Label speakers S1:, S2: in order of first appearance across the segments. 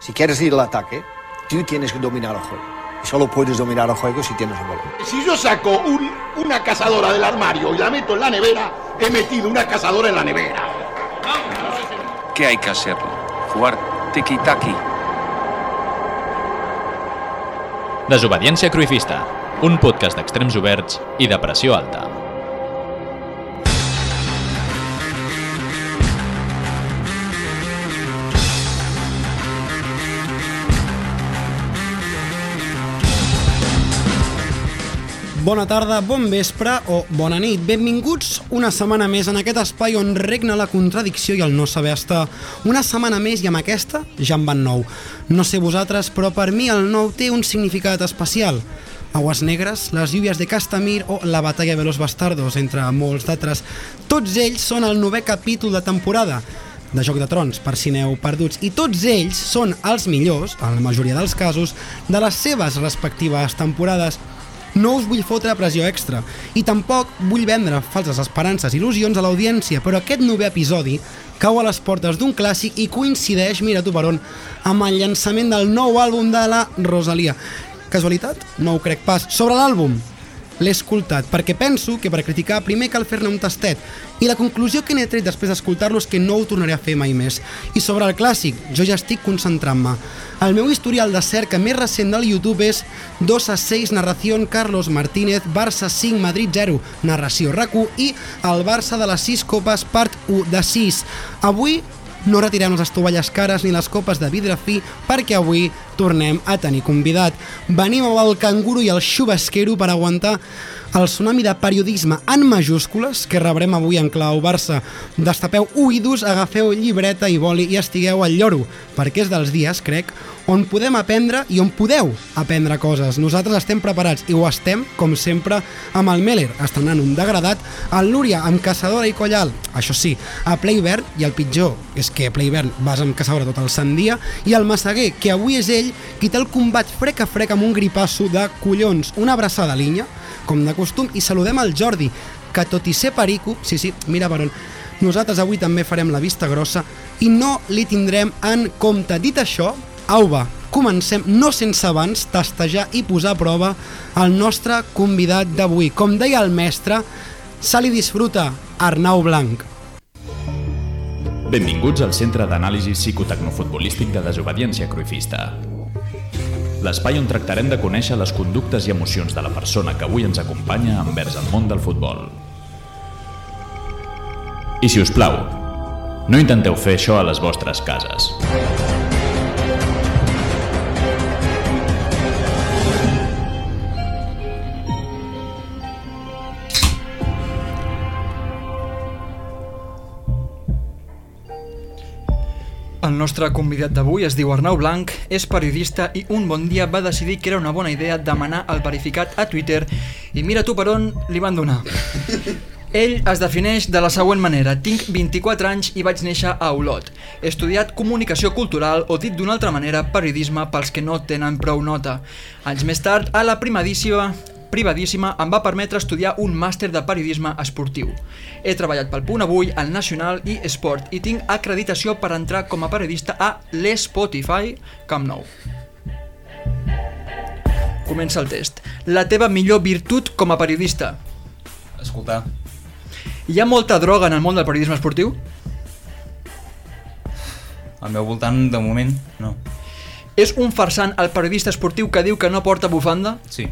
S1: Si quieres ir al ataque, tú tienes que dominar el juego. Y solo puedes dominar el juego si tienes el balón.
S2: Si yo saco un- una cazadora del armario y la meto en la nevera, he metido una cazadora en la nevera.
S3: ¿Qué hay que hacerlo? Jugar tiki-taki.
S4: Desobediència Cruifista, un podcast d'extrems oberts i de pressió alta.
S5: Bona tarda, bon vespre o bona nit. Benvinguts una setmana més en aquest espai on regna la contradicció i el no saber estar. Una setmana més i amb aquesta ja en van nou. No sé vosaltres, però per mi el nou té un significat especial. Aguas Negres, les lluvies de Castamir o la batalla de los bastardos, entre molts d'altres. Tots ells són el novè capítol de temporada de Joc de Trons, per si n'heu perduts, i tots ells són els millors, en la majoria dels casos, de les seves respectives temporades. No us vull fotre pressió extra i tampoc vull vendre falses esperances i il·lusions a l'audiència, però aquest nou episodi cau a les portes d'un clàssic i coincideix, mira tu per on, amb el llançament del nou àlbum de la Rosalia. Casualitat? No ho crec pas. Sobre l'àlbum, l'he escoltat perquè penso que per criticar primer cal fer-ne un tastet i la conclusió que n'he tret després d'escoltar-lo és que no ho tornaré a fer mai més. I sobre el clàssic, jo ja estic concentrant-me. El meu historial de cerca més recent del YouTube és 2 a 6 narración Carlos Martínez, Barça 5, Madrid 0, narració rac i el Barça de les 6 copes part 1 de 6. Avui no retirem les estovalles cares ni les copes de vidre fi perquè avui tornem a tenir convidat. Venim amb el canguro i el xubasquero per aguantar el tsunami de periodisme en majúscules que rebrem avui en clau Barça. Destapeu oïdus, agafeu llibreta i boli i estigueu al lloro, perquè és dels dies, crec, on podem aprendre i on podeu aprendre coses. Nosaltres estem preparats i ho estem, com sempre, amb el Meller, estrenant un degradat, el Lúria amb Caçadora i Collal, això sí, a Playvern, i el pitjor és que a Playvern vas amb Caçadora tot el sant dia, i el Massaguer, que avui és ell qui té el combat frec a frec amb un gripasso de collons. Una abraçada a l'Inya, com de costum, i saludem al Jordi, que tot i ser perico, sí, sí, mira per on, nosaltres avui també farem la vista grossa i no li tindrem en compte. Dit això, au va, comencem no sense abans tastejar i posar a prova el nostre convidat d'avui. Com deia el mestre, se li disfruta Arnau Blanc.
S4: Benvinguts al Centre d'Anàlisi Psicotecnofutbolístic de Desobediència Cruifista. L'espai on tractarem de conèixer les conductes i emocions de la persona que avui ens acompanya envers el món del futbol. I si us plau, no intenteu fer això a les vostres cases.
S6: El nostre convidat d'avui es diu Arnau Blanc, és periodista i un bon dia va decidir que era una bona idea demanar el verificat a Twitter i mira tu per on li van donar. Ell es defineix de la següent manera. Tinc 24 anys i vaig néixer a Olot. He estudiat comunicació cultural o dit d'una altra manera periodisme pels que no tenen prou nota. Anys més tard, a la primadíssima privadíssima em va permetre estudiar un màster de periodisme esportiu. He treballat pel Punt Avui, al Nacional i Esport i tinc acreditació per entrar com a periodista a l'Spotify Camp Nou. Comença el test. La teva millor virtut com a periodista.
S7: Escoltar.
S6: Hi ha molta droga en el món del periodisme esportiu?
S7: Al meu voltant, de moment, no.
S6: És un farsant el periodista esportiu que diu que no porta bufanda?
S7: Sí.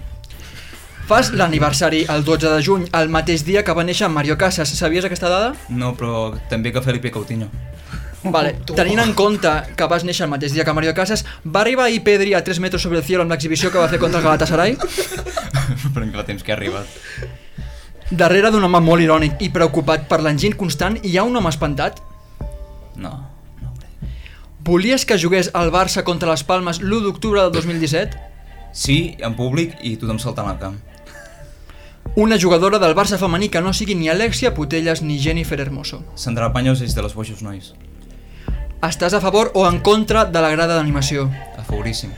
S6: Fas l'aniversari el 12 de juny, el mateix dia que va néixer Mario Casas. Sabies aquesta dada?
S7: No, però també que Felipe Coutinho.
S6: Vale. Tenint en compte que vas néixer el mateix dia que Mario Casas, va arribar ahir Pedri a 3 metres sobre el cielo amb l'exhibició que va fer contra el Galatasaray?
S7: però en el temps que ha arribat.
S6: Darrere d'un home molt irònic i preocupat per l'enginy constant hi ha un home espantat?
S7: No. no ho crec.
S6: Volies que jugués al Barça contra les Palmes l'1 d'octubre del 2017?
S7: Sí, en públic i tothom saltant al camp.
S6: Una jugadora del Barça femení que no sigui ni Alexia Putelles ni Jennifer Hermoso.
S7: Sandra Paños és de los boixos nois.
S6: Estàs a favor o en contra de la grada d'animació?
S7: A favoríssim,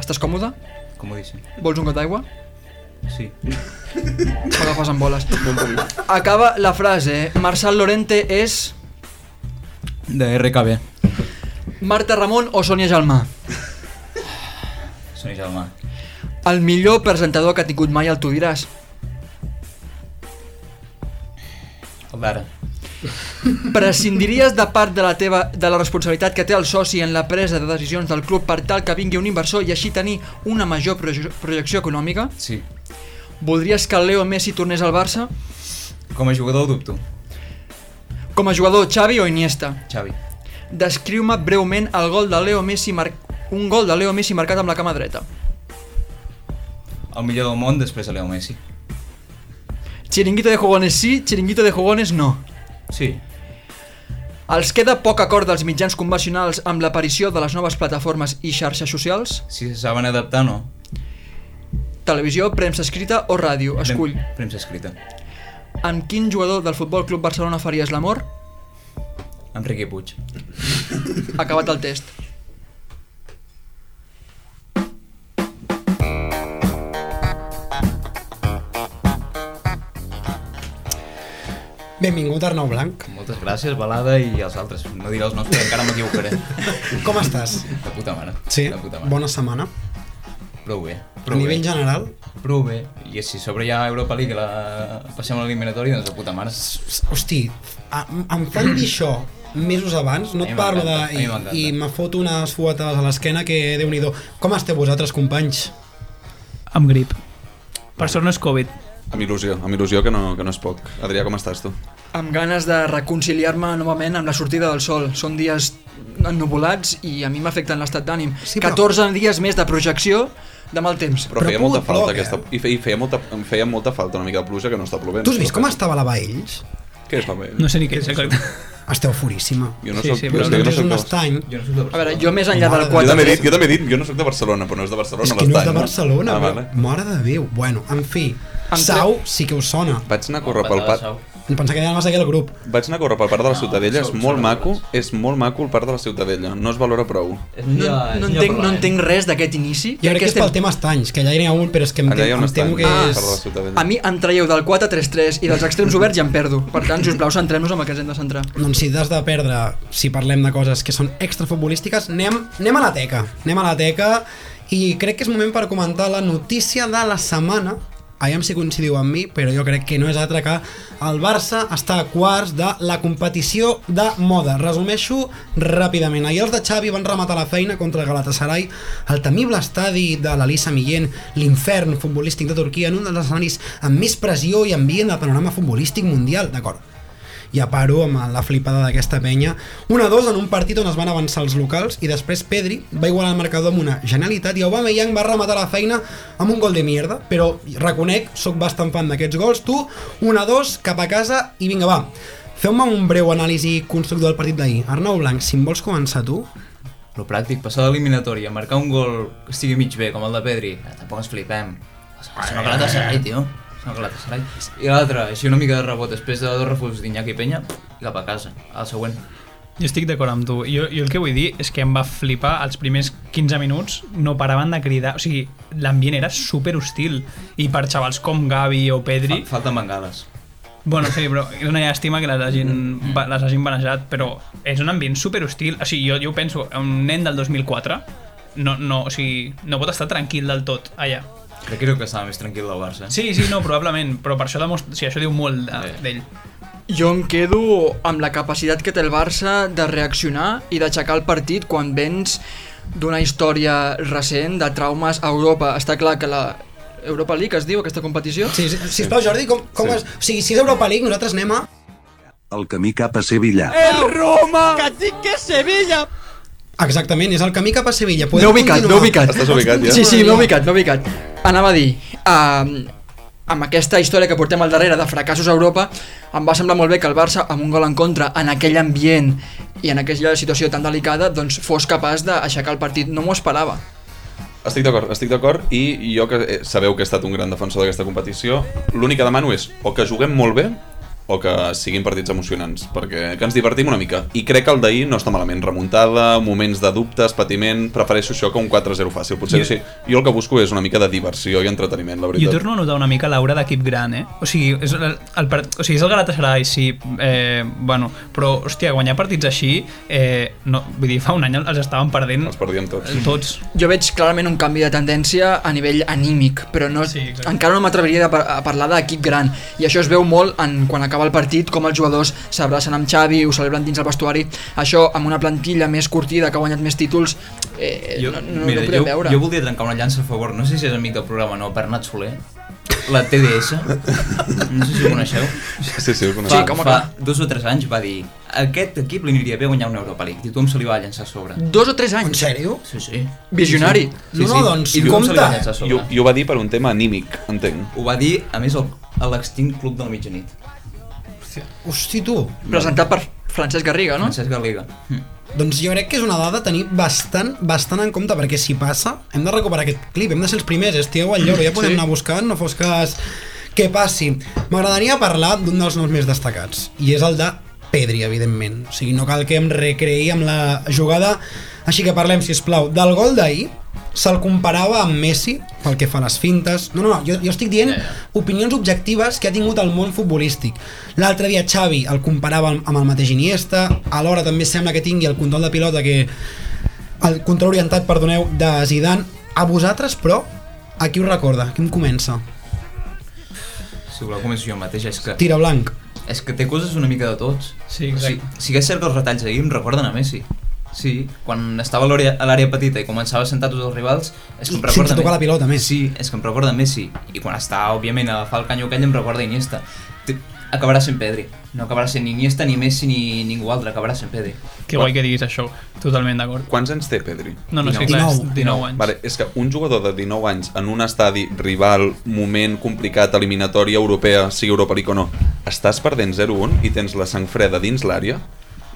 S6: Estàs còmode?
S7: comodíssim.
S6: Vols un got d'aigua?
S7: Sí.
S6: M'agafes amb boles. eh? Acaba la frase. Marçal Lorente és...
S7: De RKB.
S6: Marta Ramon o Sònia Gelmà?
S8: Soni Jaume.
S6: El millor presentador que ha tingut mai el tu diràs.
S8: El d'ara.
S6: Prescindiries de part de la, teva, de la responsabilitat que té el soci en la presa de decisions del club per tal que vingui un inversor i així tenir una major proje projecció econòmica?
S8: Sí.
S6: Voldries que el Leo Messi tornés al Barça?
S8: Com a jugador ho dubto.
S6: Com a jugador, Xavi o Iniesta?
S8: Xavi.
S6: Descriu-me breument el gol de Leo Messi mar... un gol de Leo Messi marcat amb la cama dreta.
S8: El millor del món després de Leo Messi.
S6: Chiringuito de jugones sí, chiringuito de jugones no.
S8: Sí.
S6: Els queda poc acord dels mitjans convencionals amb l'aparició de les noves plataformes i xarxes socials?
S8: Si se saben adaptar, no.
S6: Televisió, premsa escrita o ràdio?
S8: Prem-
S6: Escull.
S8: Premsa escrita.
S6: Amb quin jugador del Futbol Club Barcelona faries l'amor?
S8: Amb Riqui Puig.
S6: Acabat el test.
S5: Benvingut, Arnau Blanc.
S8: Moltes gràcies, Balada, i els altres. No diré els noms, perquè encara m'equivocaré.
S5: Com estàs?
S8: De puta mare.
S5: Sí,
S8: De puta mare.
S5: bona setmana.
S8: Prou bé.
S5: A
S8: Prou
S5: nivell
S8: bé.
S5: general,
S8: Prou bé. I si a sobre hi ha Europa League, la... passem a l'eliminatori, doncs de puta mare.
S5: hosti, a- em fan dir això mesos abans, no
S8: A
S5: et
S8: mi
S5: parlo de...
S8: m'encanta, a mi
S5: I,
S8: m'encanta.
S5: i me foto unes fuetades a l'esquena que déu nhi Com esteu vosaltres, companys?
S9: Amb grip. Per sort no és Covid.
S7: Amb il·lusió, amb il·lusió que no, que no és poc. Adrià, com estàs tu?
S6: Amb ganes de reconciliar-me novament amb la sortida del sol. Són dies ennuvolats i a mi m'afecten l'estat d'ànim.
S5: Sí,
S6: Sí,
S5: però-
S6: 14 dies més de projecció de mal temps.
S7: Però,
S5: Però
S7: Però
S5: ha
S7: feia molta
S5: pogut
S7: falta
S5: ploure.
S7: aquesta... I feia, i feia, molta, em feia molta falta una mica de pluja que no està plovent.
S5: Tu has vist com estava la Baells?
S7: Què és la meva?
S9: No sé ni què és exacte.
S5: Esteu furíssima.
S7: Jo no
S9: Sí,
S7: soc...
S9: sí,
S7: Sí,
S9: però
S7: sí,
S5: Però
S7: jo, no
S5: és
S7: soc
S5: un
S7: de...
S5: estany.
S8: Jo no soc de
S6: A veure, jo més enllà del
S5: Mare de
S7: jo
S6: 4
S7: també he dit, jo també he dit, jo no soc de Barcelona, però no és de Barcelona,
S5: És que no és de
S7: l'estany,
S5: Barcelona,
S7: Ah,
S5: però,
S7: vale.
S5: mare de Déu. Bueno, en fi,
S6: Em
S5: Sau sí que us sona.
S7: Vaig anar a córrer pel parc...
S5: Em pensava que ja anaves aquí al grup.
S7: Vaig anar a córrer pel parc de la Ciutadella, és
S8: sou-
S7: molt
S8: sou
S7: maco, és molt maco el parc de la Ciutadella, no es valora prou.
S6: No, no, entenc, no entenc res d'aquest inici.
S5: Jo crec que és pel tema estanys, que allà hi ha un, però és que em,
S7: Allà Ah, hi ha
S5: tem,
S7: un
S5: em temo
S7: estany,
S5: que
S7: al
S5: és...
S7: parc de la Ciutadella.
S6: A mi em traieu del 4-3-3 i dels extrems oberts ja em perdo. Per tant, sisplau, centrem-nos en el que ens hem de centrar.
S5: Doncs si t'has de perdre, si parlem de coses que són extrafutbolístiques, anem, anem a la teca. Anem a la teca i crec que és moment per comentar la notícia de la setmana. Aviam si coincidiu amb mi, però jo crec que no és altra que el Barça està a quarts de la competició de moda. Resumeixo ràpidament. Ahir els de Xavi van rematar la feina contra el Galatasaray al temible estadi de l'Elisa Millén, l'infern futbolístic de Turquia, en un dels escenaris amb més pressió i ambient del panorama futbolístic mundial. D'acord, ja paro amb la flipada d'aquesta penya 1-2 en un partit on es van avançar els locals i després Pedri va igualar el marcador amb una genialitat i Aubameyang va rematar la feina amb un gol de mierda però reconec, sóc bastant fan d'aquests gols tu, 1-2, cap a casa i vinga va Feu-me un breu anàlisi constructor del partit d'ahir. Arnau Blanc, si em vols començar tu...
S8: Lo pràctic, passar a l'eliminatòria, marcar un gol que estigui mig bé, com el de Pedri, eh, tampoc ens flipem. És una Galatasaray, tio. És una Galatasaray. I l'altre, així una mica de rebot, després de dos refusos d'Iñaki Penya, i cap a casa, al següent.
S9: Jo estic d'acord amb tu. Jo, jo el que vull dir és que em va flipar els primers 15 minuts, no paraven de cridar, o sigui, l'ambient era super hostil i per xavals com Gavi o Pedri...
S8: Fa, falten bengales.
S9: Bueno, sí, però és una llàstima que les hagin, ba- les hagin manejat, però és un ambient superhostil. O sigui, jo, jo penso, un nen del 2004 no, no, o sigui, no pot estar tranquil del tot allà.
S8: Crec que era el que estava més tranquil del Barça. eh?
S9: Sí, sí, no, probablement, però per això, demostra, o sigui, això diu molt de-
S7: Eh.
S8: Sí.
S9: d'ell.
S6: Jo em quedo amb la capacitat que té el Barça de reaccionar i d'aixecar el partit quan vens d'una història recent de traumes a Europa. Està clar que la Europa League es diu aquesta competició?
S5: Sí, sí, sisplau, Jordi, com, com sí. es... O sigui, si és Europa League, nosaltres anem a...
S10: El camí cap a Sevilla.
S5: Exactament, és el camí cap a Sevilla. Podem
S6: No ubicat, no
S5: continuar?
S6: ubicat.
S7: Estàs ubicat, ja?
S6: Sí, sí, no ubicat, no ubicat. Anava a dir, um, amb aquesta història que portem al darrere de fracassos a Europa, em va semblar molt bé que el Barça, amb un gol en contra, en aquell ambient i en aquella situació tan delicada, doncs fos capaç d'aixecar el partit. No m'ho esperava.
S7: Estic d'acord, estic d'acord i jo que eh, sabeu que he estat un gran defensor d'aquesta competició, l'únic que demano és o que juguem molt bé o que siguin partits emocionants, perquè que ens divertim una mica. I crec que el d'ahir no està malament. Remuntada, moments de dubtes, patiment... Prefereixo això que un 4-0 fàcil. Potser jo...
S9: Jo-
S7: sí. Jo el que busco és una mica de diversió i entreteniment, la veritat.
S9: Jo torno a notar una mica l'aura d'equip gran, eh? O sigui, és el, el, part- o sigui, és el Galatasaray, sí, eh, bueno, però, hòstia, guanyar partits així, eh, no, vull dir, fa un any els estaven perdent
S7: Els perdíem tots.
S9: tots.
S6: Jo veig clarament un canvi de tendència a nivell anímic, però no,
S9: Sí,
S6: sí,
S9: exacte.
S6: encara no m'atreviria de par- a parlar d'equip gran. I això es veu molt en, quan acaba el partit, com els jugadors s'abracen amb Xavi, ho celebren dins el vestuari. Això, amb una plantilla més curtida, que ha guanyat més títols, eh,
S8: Jo,
S6: no, no,
S8: mira,
S6: no ho podem
S8: jo,
S6: veure.
S8: jo voldria trencar una llança a favor, no sé si és amic del programa o no, Bernat Soler, la TDS, no sé si ho coneixeu.
S7: Sí, sí, ho conec.
S6: Sí,
S8: Fa,
S6: com a
S8: fa
S6: que-
S8: dos o tres anys va dir aquest equip li aniria bé guanyar una Europa League. Tothom se li va llançar a sobre.
S6: Dos o tres
S5: En
S6: anys.
S5: sèrio?
S8: Sí, sí.
S6: Visionari.
S5: No, no, doncs,
S8: I tothom se li va
S5: compte.
S8: llançar a sobre.
S7: Jo, jo ho va dir per un tema anímic, entenc.
S8: Ho va dir, a més, el- a l'extint club del mitjanit.
S6: Ah?
S5: Hosti, tu.
S6: Presentat per Francesc Garriga, no?
S8: Francesc Garriga. Hm.
S5: Doncs jo crec que és una dada a tenir bastant, bastant en compte, perquè si passa, hem de recuperar aquest clip, hem de ser els primers, eh? estigueu al lloro, ja podem
S6: Sí.
S5: anar buscant, no fos cas que passi. M'agradaria parlar d'un dels noms més destacats, i és el de Pedri, evidentment. O sigui, no cal que em recreï amb la jugada, així que parlem, si plau del gol d'ahir, se'l comparava amb Messi pel que fa a les fintes. No, no, no, jo, jo estic dient opinions objectives que ha tingut el món futbolístic. L'altre dia Xavi el comparava amb amb el mateix Iniesta, alhora també sembla que tingui el control de pilota que el control orientat, perdoneu, de Zidane. A vosaltres, però, a qui us recorda? Qui em comença?
S8: Si voleu començo jo mateix, és que,
S5: Tira blanc.
S8: és que té coses una mica de tots.
S9: Sí,
S8: O sigui,
S9: exacte.
S8: sí que és cert que els retalls ahir em recorden a Messi. Sí, quan estava a l'àrea- a l'àrea petita i començava a sentar tots els rivals, és que
S5: I
S8: em recorda...
S5: sense tocar la pilota, a més.
S8: Sí, és que em recorda Messi. I quan està, òbviament, a agafar el canyo aquell, em recorda Iniesta. Té- Acabarà sent Pedri. No acabarà sent ni Iniesta, ni Messi, ni ningú altre. Acabarà sent Pedri.
S9: Que guai que diguis això, totalment d'acord.
S7: Quants anys té Pedri?
S9: No, no, sí, clar,
S5: 19.
S9: 19, 19 anys.
S7: Vale, és que un jugador de 19 anys en un estadi rival, moment complicat, eliminatòria europea, sigui Europa League o no, estàs perdent 0-1 i tens la sang freda dins l'àrea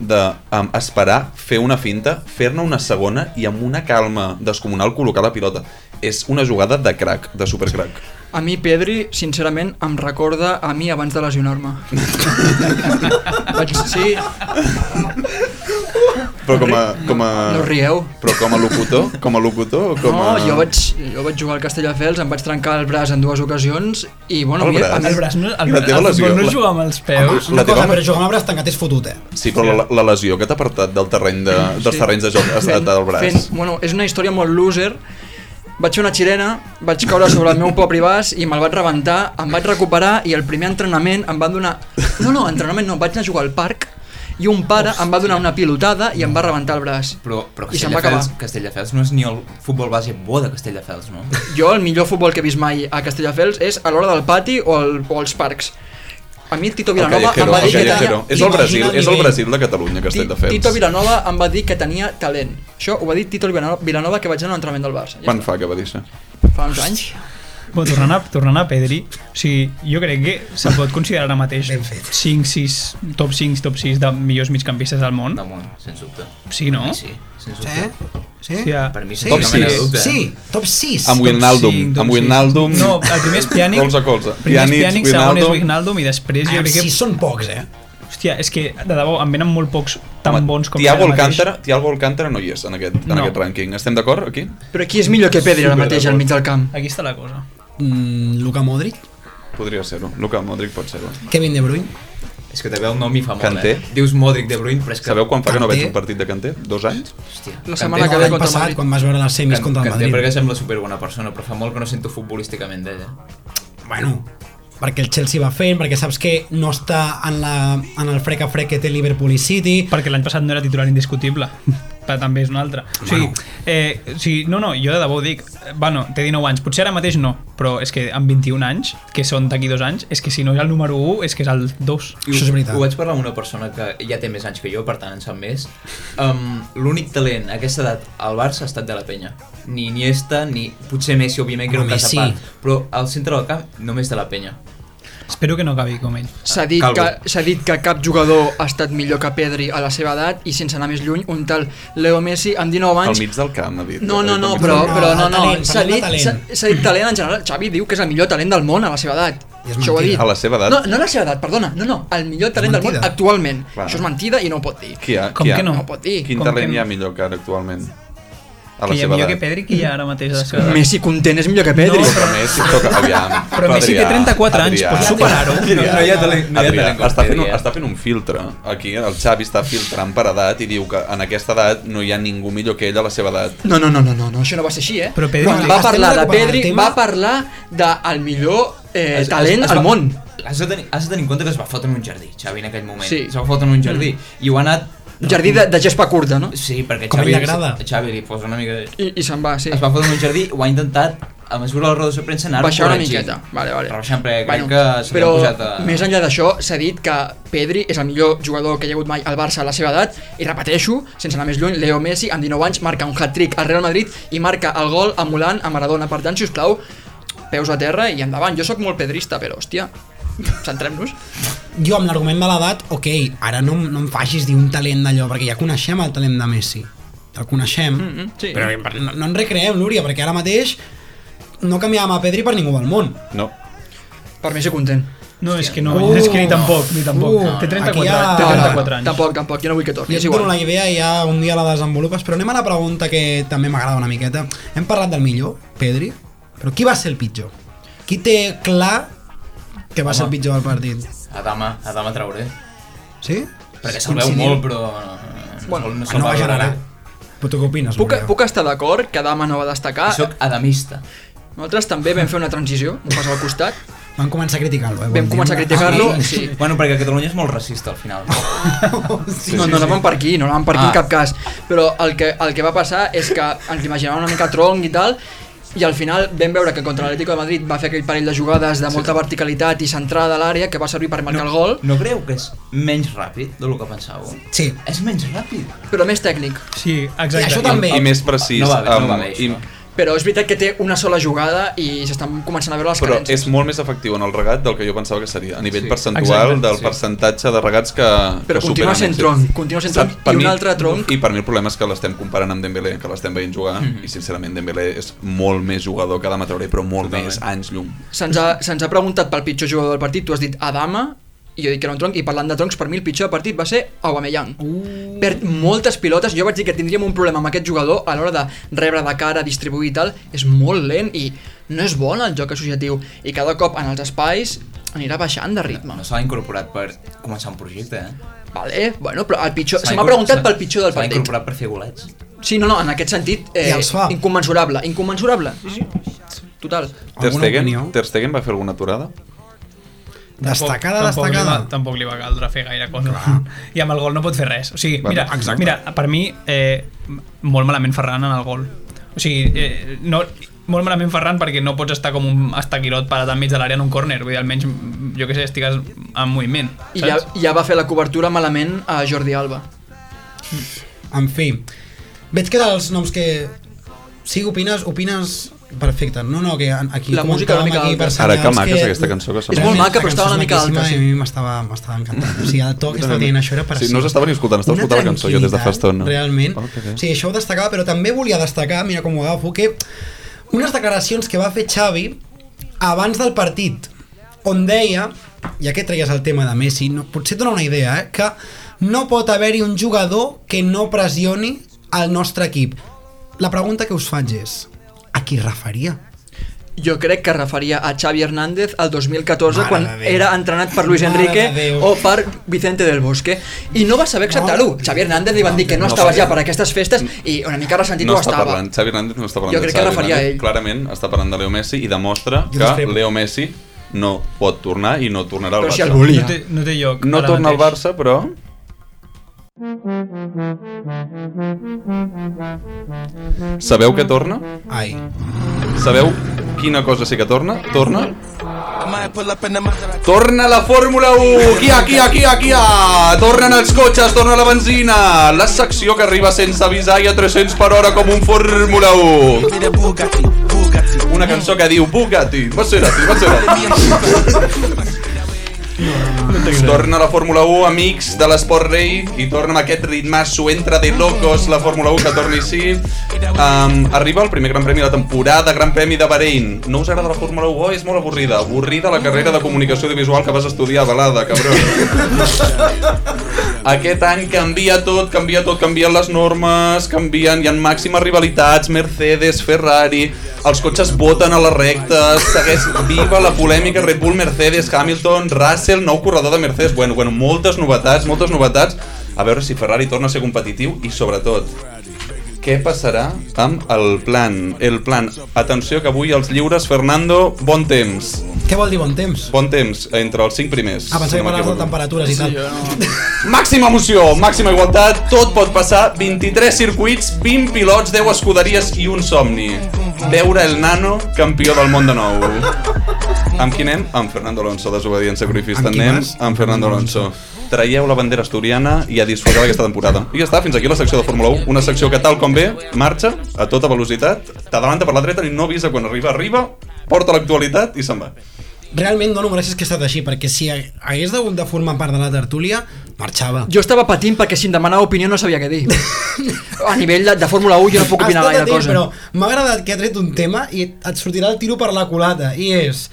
S7: de um, esperar, fer una finta, fer-ne una segona i amb una calma descomunal col·locar la pilota. És una jugada de crack, de supercrack.
S6: A mi Pedri, sincerament, em recorda a mi abans de lesionar-me. Vaig, sí,
S7: Però com a... Com a...
S6: no us rieu.
S7: Però com a locutor? Com a locutor? o Com
S6: no,
S7: a...
S6: jo, vaig, jo vaig jugar al Castelldefels, em vaig trencar el braç en dues ocasions i, bueno,
S7: El
S6: a mi-
S7: braç?
S6: a mi,
S9: El braç no, el,
S7: I la
S9: braç-
S7: teva
S9: el
S7: lesió?
S9: futbol no
S7: La-
S9: es juga amb els peus.
S7: Eh, La
S5: Una cosa,
S7: teva-
S5: però jugar amb el braç tancat és fotut, eh?
S7: Sí, però la, la lesió que t'ha apartat del terreny de, dels
S6: Sí.
S7: terrenys de joc ha estat del braç.
S6: Fent, bueno, és una història molt loser. Vaig fer una xilena, vaig caure sobre el meu propi vas i me'l vaig rebentar, em vaig recuperar i el primer entrenament em van donar... No, no, entrenament no, vaig anar a jugar al parc i un pare Hòstia. em va donar una pilotada i em va rebentar el braç.
S8: Però, però
S6: I se'n va
S8: Castelldefels,
S6: acabar.
S8: Castelldefels no és ni el futbol base bo de Castelldefels, no?
S6: Jo el millor futbol que he vist mai a Castelldefels és a l'hora del pati o, el, o als parcs. A mi Tito
S7: El
S6: Vilanova em
S7: callejero,
S6: va
S7: el
S6: dir que
S7: callejero.
S6: tenia...
S7: És el Brasil,
S5: Imagina el
S7: és el
S5: nivell.
S7: Brasil de Catalunya,
S6: Ti-
S7: Castelldefels.
S6: Tito Vilanova em va dir que tenia talent. Això ho va dir Tito Vilano- Vilanova que vaig anar a l'entrenament del Barça. Ja
S7: Quan fa que va dir això?
S6: està. Fa uns anys.
S9: Bueno, tornant, a, tornant a Pedri, o sigui, jo crec que se'n pot considerar ara mateix
S5: Ben fet.
S9: 5, 6, top 5, top 6 de millors migcampistes del món.
S8: Del món, sens dubte.
S9: Sí, no?
S8: Sí, sens dubte.
S5: Sí? Sí?
S9: Hòstia.
S8: Per mi,
S5: Sí,
S8: sens cap
S7: Top
S8: mena de
S7: sis.
S8: dubte.
S5: Sí, top 6.
S7: Amb Wijnaldum,
S9: Top cinc, top
S7: amb
S9: sis.
S7: Wijnaldum.
S9: No, el primer és Pjanic.
S7: Colze a colze.
S9: Primer és
S7: Pjanic,
S9: Pjanic, segon és
S7: Wijnaldum.
S9: Wijnaldum i després
S5: Ah,
S9: jo crec
S5: sí,
S9: que...
S5: són pocs, eh?
S9: Hòstia, és que de debò em venen molt pocs tan
S7: Home,
S9: bons com
S7: Thiago
S9: ara mateix.
S7: Alcántara, Thiago Alcántara no hi és en aquest, en
S9: No.
S7: aquest rànquing. Estem d'acord aquí?
S6: Però qui és millor que Pedri ara mateix al mig del camp?
S9: Aquí està la cosa.
S5: Mm, Luka Modric,
S7: Podria ser-ho. Luka Modric pot ser-ho.
S5: Kevin De Bruyne.
S8: És que també el nom hi fa molt,
S7: Kanté.
S8: eh? Dius Modric de Bruyne, però és que...
S7: Sabeu quan fa que no
S5: Kanté?
S7: veig un partit de Kanté? Dos anys?
S8: Hòstia,
S6: La
S8: Kanté-
S6: setmana
S5: No,
S6: que ve
S5: L'any
S6: contra el
S5: passat,
S6: Madrid.
S5: quan vas veure les semis contra el
S8: Kanté
S5: Madrid.
S8: perquè sembla superbona persona, però fa molt que no sento futbolísticament eh? d'ella.
S5: bueno, perquè el Chelsea va fent, perquè saps que no està en, la, en el frec a frec que té Liverpool i City.
S9: Perquè l'any passat no era titular indiscutible. Però també és una altra. O sigui, eh, o sigui, no, no, jo de debò ho dic. eh, Bueno, té 19 anys, potser ara mateix no, però és que amb 21 anys, que són d'aquí dos anys, és que si no és el número 1, és que és el 2.
S8: I
S5: Això
S8: ho-
S5: és veritat.
S8: Ho vaig parlar amb una persona que ja té més anys que jo, per tant en sap més. Um, L'únic talent a aquesta edat al Barça ha estat de la penya. Ni Iniesta, ni potser Messi, òbviament, que era un
S5: Home,
S8: cas a
S5: Messi.
S8: part. Però al centre del camp, només de la penya.
S9: Espero que no acabi com ell.
S6: S'ha dit,
S8: Calvo.
S6: que, s'ha dit que cap jugador ha estat millor que Pedri a la seva edat i sense anar més lluny, un tal Leo Messi amb 19
S7: Al
S6: anys...
S7: mig del camp, ha dit. Eh,
S6: No, no, no,
S7: Al mig
S6: però,
S7: del camp.
S6: però no,
S5: el Ah,
S6: no,
S5: talent,
S6: s'ha
S5: parlem de talent.
S6: dit, s'ha s'ha dit talent en general. Xavi diu que és el millor talent del món a la seva edat.
S5: I és
S6: Això ho ha dit.
S5: mentida.
S8: A la seva edat?
S6: No, no a la seva edat, perdona. No, no, el millor talent del món
S5: mentida.
S6: actualment.
S8: Clar.
S6: Això és mentida i no ho pot dir.
S8: Qui ha,
S9: Com
S8: qui ha,
S9: que no?
S6: No ho pot dir.
S8: Quin
S9: Com
S8: talent
S9: que
S8: hi ha
S9: no?
S8: millor que ara actualment? A la
S9: Que hi ha
S8: seva
S9: millor
S8: edat.
S9: que Pedri, que hi ha ara mateix a la seva edat.
S6: Messi content és millor que Pedri.
S9: No,
S8: Però Messi toca... Aviam.
S9: Però Messi té 34 anys,
S8: Adrià.
S9: pots superar-ho.
S7: No, no hi ha talent, no hi ha
S8: Adrià,
S7: talent com
S8: està, fent,
S7: Pedri,
S8: un-
S7: eh?
S8: està fent un filtre. Aquí el Xavi està filtrant per edat i diu que en aquesta edat no hi ha ningú millor que ell a la seva edat.
S6: No, no, no, no, no, no, això no va ser així, eh?
S9: Però Pedri-
S6: Quan
S9: Estem
S6: va parlar de
S5: recuperant el
S6: Pedri,
S5: tema.
S6: va parlar del millor eh,
S7: Es-
S6: talent
S7: es- es
S6: al
S7: va-
S6: món.
S7: Has de, tenir, has de tenir en compte que es va fotre en un jardí, Xavi, en aquell moment.
S6: Sí.
S7: Sí.
S6: Mm.
S7: Es va fotre en un jardí. I ho ha anat...
S6: Jardí de, de gespa curta, no?
S7: Sí, perquè
S5: Com a
S7: Xavi...
S5: ell agrada.
S7: A Xavi li posa una mica... De...
S6: I, i se'n va, sí.
S7: Es va fotre en un jardí, ho ha intentat a mesura de la roda de premsa anar
S6: Baixar una
S7: corregint.
S6: miqueta. Vale, vale.
S7: Rebaixant, perquè crec que se li
S6: però
S7: ha posat a...
S6: més enllà d'això, s'ha dit que Pedri és el millor jugador que hi ha hagut mai al Barça a la seva edat, i repeteixo, sense anar més lluny, Leo Messi, amb 19 anys, marca un hat-trick al Real Madrid i marca el gol emulant a Maradona. Per tant, si us plau, peus a terra i endavant. Jo sóc molt pedrista, però, hòstia, centrem-nos.
S5: Jo amb l'argument de l'edat, ok, ara no, em- no em facis dir un talent d'allò, perquè ja coneixem el talent de Messi. El coneixem, mm
S6: mm, sí.
S5: però no, no en recreem, Núria, perquè ara mateix no canviàvem a Pedri per ningú del món.
S8: No.
S6: Per mi ser content.
S9: No, és que no, és que ni tampoc, ni tampoc.
S5: Uh,
S9: té 34,
S5: aquí hi ha-
S9: té
S5: No, no,
S9: 34 anys.
S6: Tampoc, tampoc, jo no vull que torni,
S5: Jo
S6: és
S5: et dono
S6: igual.
S5: la idea i ja un dia la desenvolupes, però anem a la pregunta que també m'agrada una miqueta. Hem parlat del millor, Pedri, però qui va ser el pitjor? Qui té clar que va ser el pitjor del partit?
S7: Adama, Adama Traoré.
S5: Sí?
S7: Perquè se'l veu molt, però... eh, No,
S6: Bueno,
S7: bueno, no
S5: Ah,
S7: se'l
S5: no
S7: va
S5: va generar.
S7: valorar.
S5: Però tu què opines?
S6: Puc,
S5: Núria?
S6: puc estar d'acord que Dama no va destacar.
S7: Soc adamista.
S6: Nosaltres també vam fer una transició, un pas al costat,
S5: Van començar a criticar-lo, eh?
S6: vam començar a criticar-lo, sí.
S7: Bueno, perquè Catalunya és molt racista, al final.
S6: Sí, no, no anaven per aquí, no anaven per aquí en
S7: Ah.
S6: cap cas. Però el que, el que va passar és que ens l'imaginàvem una mica tronc i tal, i al final vam veure que contra l'Atlético de Madrid va fer aquell parell de jugades de molta verticalitat i centrada a l'àrea que va servir per marcar el gol,
S7: No creu que és menys ràpid del que pensàveu?
S5: Sí,
S7: És menys ràpid. Ah.
S6: però més tècnic.
S9: Sí, exacte.
S5: I això també.
S8: I més precís.
S7: No va bé, no
S8: amb-
S7: va bé, això.
S8: i,
S6: Però és veritat que té una sola jugada i s'estan començant a veure les
S8: però
S6: carències.
S8: és molt més efectiu en el regat del que jo pensava que seria. A nivell
S7: Sí.
S8: percentual
S9: Exacte,
S8: del
S7: sí.
S8: percentatge de regats que,
S6: Però
S8: que
S6: continua
S8: superen
S6: sent
S8: èxit.
S6: tronc, continua sent
S8: Saps,
S6: tronc, i un altre tronc.
S8: I per mi el problema és que l'estem comparant amb Dembélé, que l'estem veient jugar, i sincerament Dembélé és molt més jugador que Adama Traoré, però molt
S7: Totalment.
S8: més anys llum.
S6: Se'ns ha, se'ns ha preguntat pel pitjor jugador del partit, tu has dit Adama, i jo dic que era un tronc, i parlant de troncs, per mi el pitjor del partit va ser Aubameyang. Uh. Per moltes pilotes, jo vaig dir que tindríem un problema amb aquest jugador a l'hora de rebre de cara, distribuir i tal, és molt lent i no és bon el joc associatiu, i cada cop en els espais anirà baixant de ritme.
S7: No s'ha incorporat per començar un projecte, eh?
S6: Vale, bueno, però el pitjor...
S7: S'ha
S6: Se m'ha
S7: incor-
S6: preguntat
S7: s'ha-
S6: pel pitjor del
S7: S'ha
S6: partit.
S7: incorporat per fer golets.
S6: Sí, no, no, en aquest sentit, eh,
S5: I els fa.
S6: inconmensurable, inconmensurable. Sí, sí. Total.
S8: Ter
S5: Alguna
S8: Stegen,
S5: opinió?
S8: Ter Stegen va fer alguna aturada?
S5: destacada,
S9: tampoc Li
S5: destacada.
S9: va, tampoc li va caldre fer gaire cosa. I amb el gol no pot fer res. O sigui,
S8: Bueno,
S9: mira,
S8: exacte.
S9: mira per mi, eh, molt malament Ferran en el gol. O sigui, eh, no, molt malament Ferran perquè no pots estar com un estaquirot parat enmig de l'àrea en un córner. Vull dir, almenys, jo que sé, estigues en moviment.
S6: I ja,
S9: Saps?
S6: ja va fer la cobertura malament a Jordi Alba.
S5: En fi, veig que dels noms que... Sí, opines, opines perfecte. No, no, que en- aquí
S6: La música
S5: comentàvem
S6: una mica
S5: aquí
S6: alta.
S5: per
S8: Ara,
S5: senyals
S8: que maca és aquesta cançó que sona.
S6: És molt
S5: Realment,
S6: maca, però
S5: aquesta
S6: estava una mica
S5: cançó és
S6: alta,
S5: maquíssima
S6: sí.
S5: I a mi m'estava m'estava encantant. O sigui, el to que estava dient això era per
S8: Sí, no us estava ni escoltant, estava
S5: Una
S8: escoltant la cançó jo des de fa
S5: tranquil·litat,
S8: estona.
S5: Realment.
S8: Oh, que bé.
S5: sí, això ho destacava, però també volia destacar, mira com ho agafo, que unes declaracions que va fer Xavi abans del partit, on deia, ja que traies el tema de Messi, no, potser et dona una idea, eh, que no pot haver-hi un jugador que no pressioni el nostre equip. La pregunta que us faig és, a qui es referia?
S6: Jo crec que es referia a Xavi Hernández al 2014
S5: Mare
S6: quan
S5: de Déu.
S6: era entrenat per Luis
S5: Mare de
S6: Enrique
S5: Déu.
S6: o per Vicente del Bosque i no va saber acceptar-ho.
S5: No.
S6: Xavi Hernández li van dir que no,
S8: No
S6: estava
S8: sabia.
S6: ja per aquestes festes i una mica ressentit
S8: No
S6: ho
S8: està
S6: estava.
S8: parlant, Xavi Hernández no està parlant
S6: Jo
S8: de
S6: crec que
S8: Xavi
S6: referia a
S8: Hernández,
S6: ell.
S8: Clarament està parlant de Leo Messi i demostra
S5: Jo
S8: que
S5: després-
S8: Leo Messi no pot tornar i no tornarà al
S6: Però si
S8: Barça.
S6: el volia.
S9: No té, no té lloc.
S8: No
S9: ara
S8: torna al
S9: mateix.
S8: Barça, però... Sabeu que torna?
S5: Ai,
S8: Sabeu quina cosa sí que torna? Torna? Torna la Fórmula 1! Kia, kia, kia, kia! Tornen els cotxes, torna la benzina! La secció que arriba sense avisar i a 300 per hora com un Fórmula 1! Una cançó que diu Bugatti, Maserati, Maserati. Torna la Fórmula 1, amics de l'Esport Rei, i torna amb aquest ritmasso entre de locos la Fórmula 1 que torni així. Um, arriba el primer Gran Premi de la temporada, Gran Premi de Bahrein. No us agrada la Fórmula 1? Oh, és molt avorrida. Avorrida la carrera de comunicació audiovisual que vas estudiar, Balada, cabró. Aquest any canvia tot, canvia tot, canvien les normes, canvien, hi ha màximes rivalitats, Mercedes, Ferrari, els cotxes voten a les rectes, segueix viva la polèmica Red Bull, Mercedes, Hamilton, Russell, nou corredor de Mercedes, bueno, bueno, moltes novetats, moltes novetats, a veure si Ferrari torna a ser competitiu i sobretot, què passarà amb el plan? El plan, atenció que avui els lliures, Fernando, bon temps.
S5: Què vol dir bon temps?
S8: Bon temps, entre els cinc primers.
S5: Ah, pensava que
S8: si no
S5: parlaves de
S8: m'equivoco.
S5: temperatures i tal.
S8: Màxima emoció, màxima igualtat, tot pot passar, 23 circuits, 20 pilots, 10 escuderies i un somni. Veure el nano campió del món de nou. Amb qui anem? Amb Fernando Alonso, desobedient sacrifista.
S5: Amb qui
S8: Anem
S5: vas?
S8: amb Fernando Alonso. Traieu la bandera asturiana i a disfrutar d'aquesta temporada. I ja està, fins aquí la secció de Fórmula 1. Una secció que tal com ve, marxa a tota velocitat, t'adavanta per la dreta i no avisa quan arriba, arriba, porta l'actualitat i se'n va.
S5: Realment dono gràcies que ha estat així, perquè si ha- hagués hagut de formar part de la tertúlia, marxava.
S6: Jo estava patint perquè si em demanava opinió no sabia què dir. A nivell de, de Fórmula 1 jo no puc opinar
S5: Has estat
S6: gaire
S5: atent,
S6: cosa.
S5: Però m'ha agradat que ha tret un tema i et sortirà el tiro per la culata, i és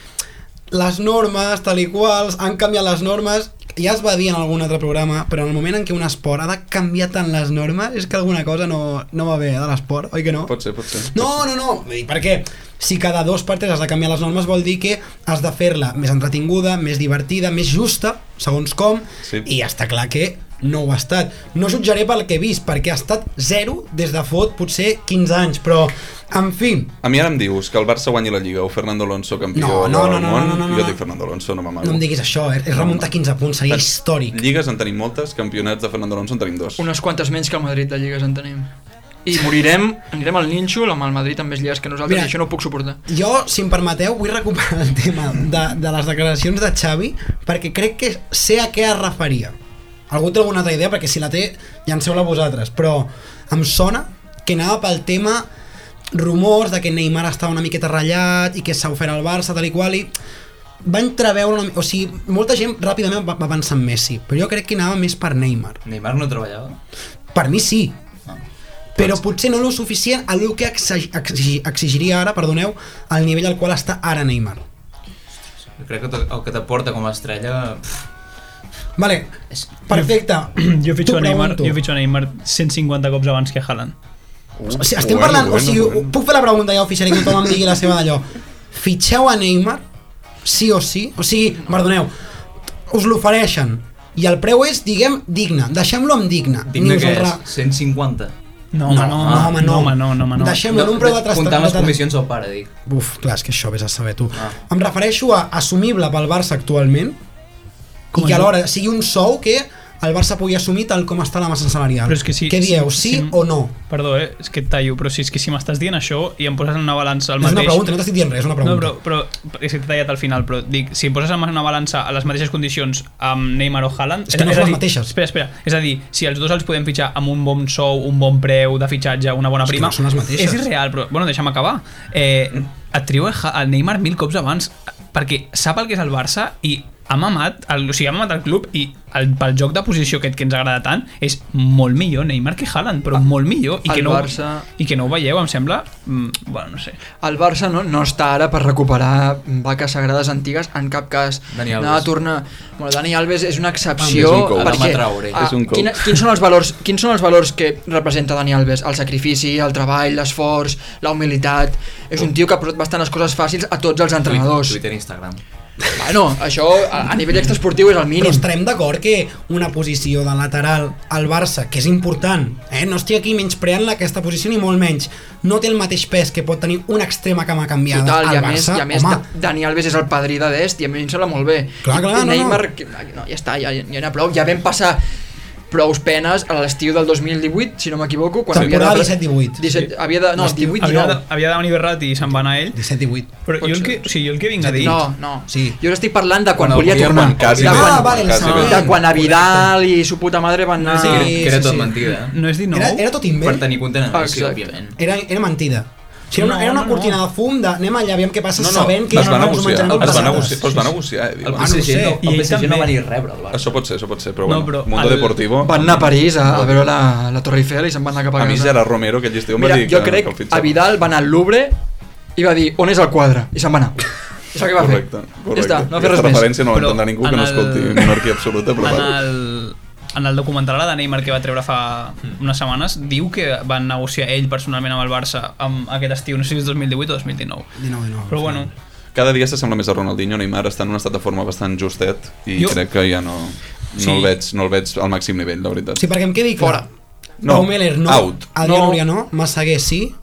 S5: les normes, tal i quals, han canviat les normes, ja es va dir en algun altre programa, però en el moment en què un esport ha de canviar tant les normes, és que alguna cosa no, no va bé eh, de l'esport, oi que no?
S8: Pot ser, pot ser.
S5: No, no, no, I per què? Si cada dos per tres has de canviar les normes vol dir que has de fer-la més entretinguda, més divertida, més justa, segons com,
S8: Sí.
S5: sí. i està clar que no ho ha estat. No jutjaré pel que he vist, perquè ha estat zero des de fot potser 15 anys, però, en fi,
S8: A mi ara em dius que el Barça guanyi la Lliga o Fernando Alonso campió
S5: No, no, no,
S8: del
S5: no,
S8: món,
S5: no, no, no,
S8: jo
S5: no.
S8: dic Fernando Alonso, no m'amago.
S5: no em diguis això, eh? és remuntar 15 punts, seria històric.
S8: Lligues en tenim moltes, campionats de Fernando Alonso en tenim dos.
S6: Unes quantes menys que el Madrid de Lligues en tenim. I morirem, anirem al nínxol amb el Madrid amb més lligues que nosaltres
S5: Mira.
S6: i això no ho puc suportar.
S5: Jo, si em permeteu, vull recuperar el tema de, de les declaracions de Xavi perquè crec que sé a què es referia. Algú té alguna altra idea? Perquè si la té, llanceu-la vosaltres. Però em sona que anava pel tema rumors de que Neymar estava una miqueta ratllat i que s'ha ofert al Barça, tal i qual, i va entreveure una... mi- O sigui, molta gent ràpidament va, va pensar en Messi, però jo crec que anava més per Neymar.
S7: Neymar no treballava.
S5: Per mi sí.
S7: Ah.
S5: Però potser no lo suficient a lo que exi- exi- exigiria ara, perdoneu, al nivell al qual està ara Neymar.
S7: Jo crec que to- el que t'aporta com a estrella... pff,
S5: Vale,
S7: És-
S5: perfecte.
S9: Jo fitxo,
S5: T'ho
S9: a Neymar,
S5: pregunto.
S9: jo fitxo a Neymar 150 cops abans que Haaland.
S7: Uh,
S5: O sigui, estem parlant, o sigui, puc fer la pregunta ja oficial i que tothom em digui la seva d'allò. Fitxeu a Neymar? Sí o sí? O sigui, perdoneu, us l'ofereixen i el preu és, diguem, digne. Deixem-lo amb digne.
S7: Digne
S5: Ni us
S7: que
S5: el
S7: és,
S5: ra-
S7: 150.
S9: No,
S5: No,
S9: home,
S5: no,
S9: no,
S5: home, no.
S9: no, Ah, home, no, no, home, no.
S5: Deixem-lo en un preu de trastat.
S7: Comptant les comissions al pare, dic.
S5: Uf, clar, és que això vés a saber tu.
S7: Ah.
S5: Ah. Em refereixo a assumible pel Barça actualment
S9: Com
S5: i que
S9: és?
S5: alhora sigui un sou que el Barça pugui assumir tal com està la massa salarial.
S9: Però és que si-
S5: Què
S9: si-
S5: dieu,
S9: si-
S5: sí
S9: si-
S5: o no?
S9: Perdó, eh? és que et tallo, però si és que si m'estàs dient això i em poses en una balança el
S5: és una
S9: mateix...
S5: pregunta, no t'estic dient res, és una
S9: No,
S5: pregunta.
S9: però, però és que t'he tallat al final, però dic, si em poses en una balança a les mateixes condicions amb Neymar o Haaland...
S5: És que no
S9: a
S5: són les
S9: dir-
S5: mateixes.
S9: Espera, espera. És a dir, si els dos els podem fitxar amb un bon sou, un bon preu de fitxatge, una bona
S5: És que
S9: prima...
S5: no són les mateixes.
S9: És irreal, però... Bueno, deixa'm acabar. Eh, et trio el Ha- el Neymar mil cops abans perquè sap el que és el Barça i ha mamat, el, o sigui, ha mamat el club i el, pel joc de posició aquest que ens agrada tant és molt millor Neymar que Haaland
S5: Ah,
S9: però molt millor i
S6: el
S9: que, no,
S6: Barça-
S9: i que no ho veieu, em sembla mm, bueno, no sé
S6: El Barça no, no està ara per recuperar vaques sagrades antigues en cap cas.
S7: Dani Alves.
S6: No, torna... Bueno, Dani Alves és una excepció
S8: Ah, És un cou.
S6: perquè...
S7: Adama Traoré.
S6: ah,
S8: És un cou.
S6: quina, quins, són els valors, quins són els valors que representa Dani Alves? El sacrifici, el treball, l'esforç, la humilitat... És un tio que ha posat bastant les coses fàcils a tots els entrenadors.
S7: Twitter i Instagram.
S6: Bueno, això a, a nivell extraesportiu és el
S5: Però
S6: mínim.
S5: estarem d'acord que una posició de lateral al Barça, que és important, eh? no estic aquí menyspreant aquesta posició ni molt menys, no té el mateix pes que pot tenir una extrema cama canviada
S6: Total, i
S5: al
S6: a més,
S5: Barça.
S6: i a més
S5: Home,
S6: Da- Dani Alves és el padrí de Dest i a mi em sembla molt bé.
S5: Clar,
S6: I-
S5: clar,
S6: I
S5: no,
S6: Neymar,
S5: no.
S6: que, no, ja està, ja, ja n'hi ha prou. Ja vam passar prous penes a l'estiu del 2018, si no m'equivoco. quan havia
S5: Temporada
S6: de-
S5: 17-18.
S6: 17, havia de, no,
S5: L'estiu-
S6: 18
S9: havia de,
S6: 19.
S9: havia de venir Berratti i se'n va anar ell
S5: 17-18.
S9: però
S6: Pot
S9: jo el,
S6: ser.
S9: que, o sigui, jo el que vinc a dir
S6: No, no.
S5: Sí.
S6: Jo us estic parlant de quan
S7: Quan el
S6: volia
S7: volien
S6: tornar.
S8: bancar, sí,
S6: de,
S8: no.
S5: Ah,
S6: quan,
S5: vale, el
S8: Quasi bé.
S5: següent.
S6: de quan a Vidal i su puta madre van anar...
S5: Sí,
S7: que era, que era
S5: sí,
S7: tot
S5: sí.
S9: eh?
S7: mentida.
S9: no és 19
S5: Era, era tot
S7: Per
S5: invent.
S7: tenir content en
S6: Exacte.
S7: òbviament.
S5: Era, era mentida. O sigui, era una,
S9: No,
S5: era una
S9: no,
S5: cortina
S9: no.
S5: de fum de anem allà, aviam què passa,
S8: No, no,
S5: sabent que
S8: es va
S5: no ens ho
S8: negociar,
S5: menjarem
S8: es va
S5: pesades.
S8: negociar, però es va negociar, eh? diu.
S7: El
S5: no ho
S7: PSG,
S5: sé,
S7: no,
S9: i
S7: el
S9: ell
S7: PSG no
S9: també.
S7: va ni rebre el Barça.
S8: Això pot ser, això pot ser, però
S9: No,
S8: bueno,
S9: però
S8: Mundo
S9: el-
S8: Deportivo...
S6: Van anar a París a, a veure la, la Torre Eiffel i se'n van anar cap a
S8: A
S6: casa.
S8: mi Gerard Romero aquell estiu em va
S6: Mira,
S8: dir
S6: jo
S8: que,
S6: crec
S8: que el
S6: a
S8: fitxava.
S6: Vidal va anar al Louvre i va dir on és el quadre i se'n va anar. I sap què va
S8: Correcte,
S6: fer?
S8: correcte.
S6: Ja està, no va fer
S8: Aquesta
S6: res més.
S8: referència no
S9: Però
S8: l'entendrà ningú que
S9: en
S8: no
S9: el-
S8: escolti Monarquia Absoluta, però
S9: en
S8: va.
S9: el, en el documental ara de Neymar que va treure fa unes setmanes diu que van negociar ell personalment amb el Barça amb aquest estiu, no sé si és 2018 o 2019
S5: 19, 19,
S9: però bueno,
S8: Cada dia s'assembla més a Ronaldinho, Neymar està en un estat de forma bastant justet i
S9: Jo-
S8: crec que ja no, no,
S9: Sí.
S8: el veig, no el veig al màxim nivell, la veritat.
S5: Sí, perquè em quedi clar. Fora.
S8: No,
S5: No, Meller no,
S8: out.
S5: Adrià
S9: No.
S5: no. Núria no, Massaguer sí,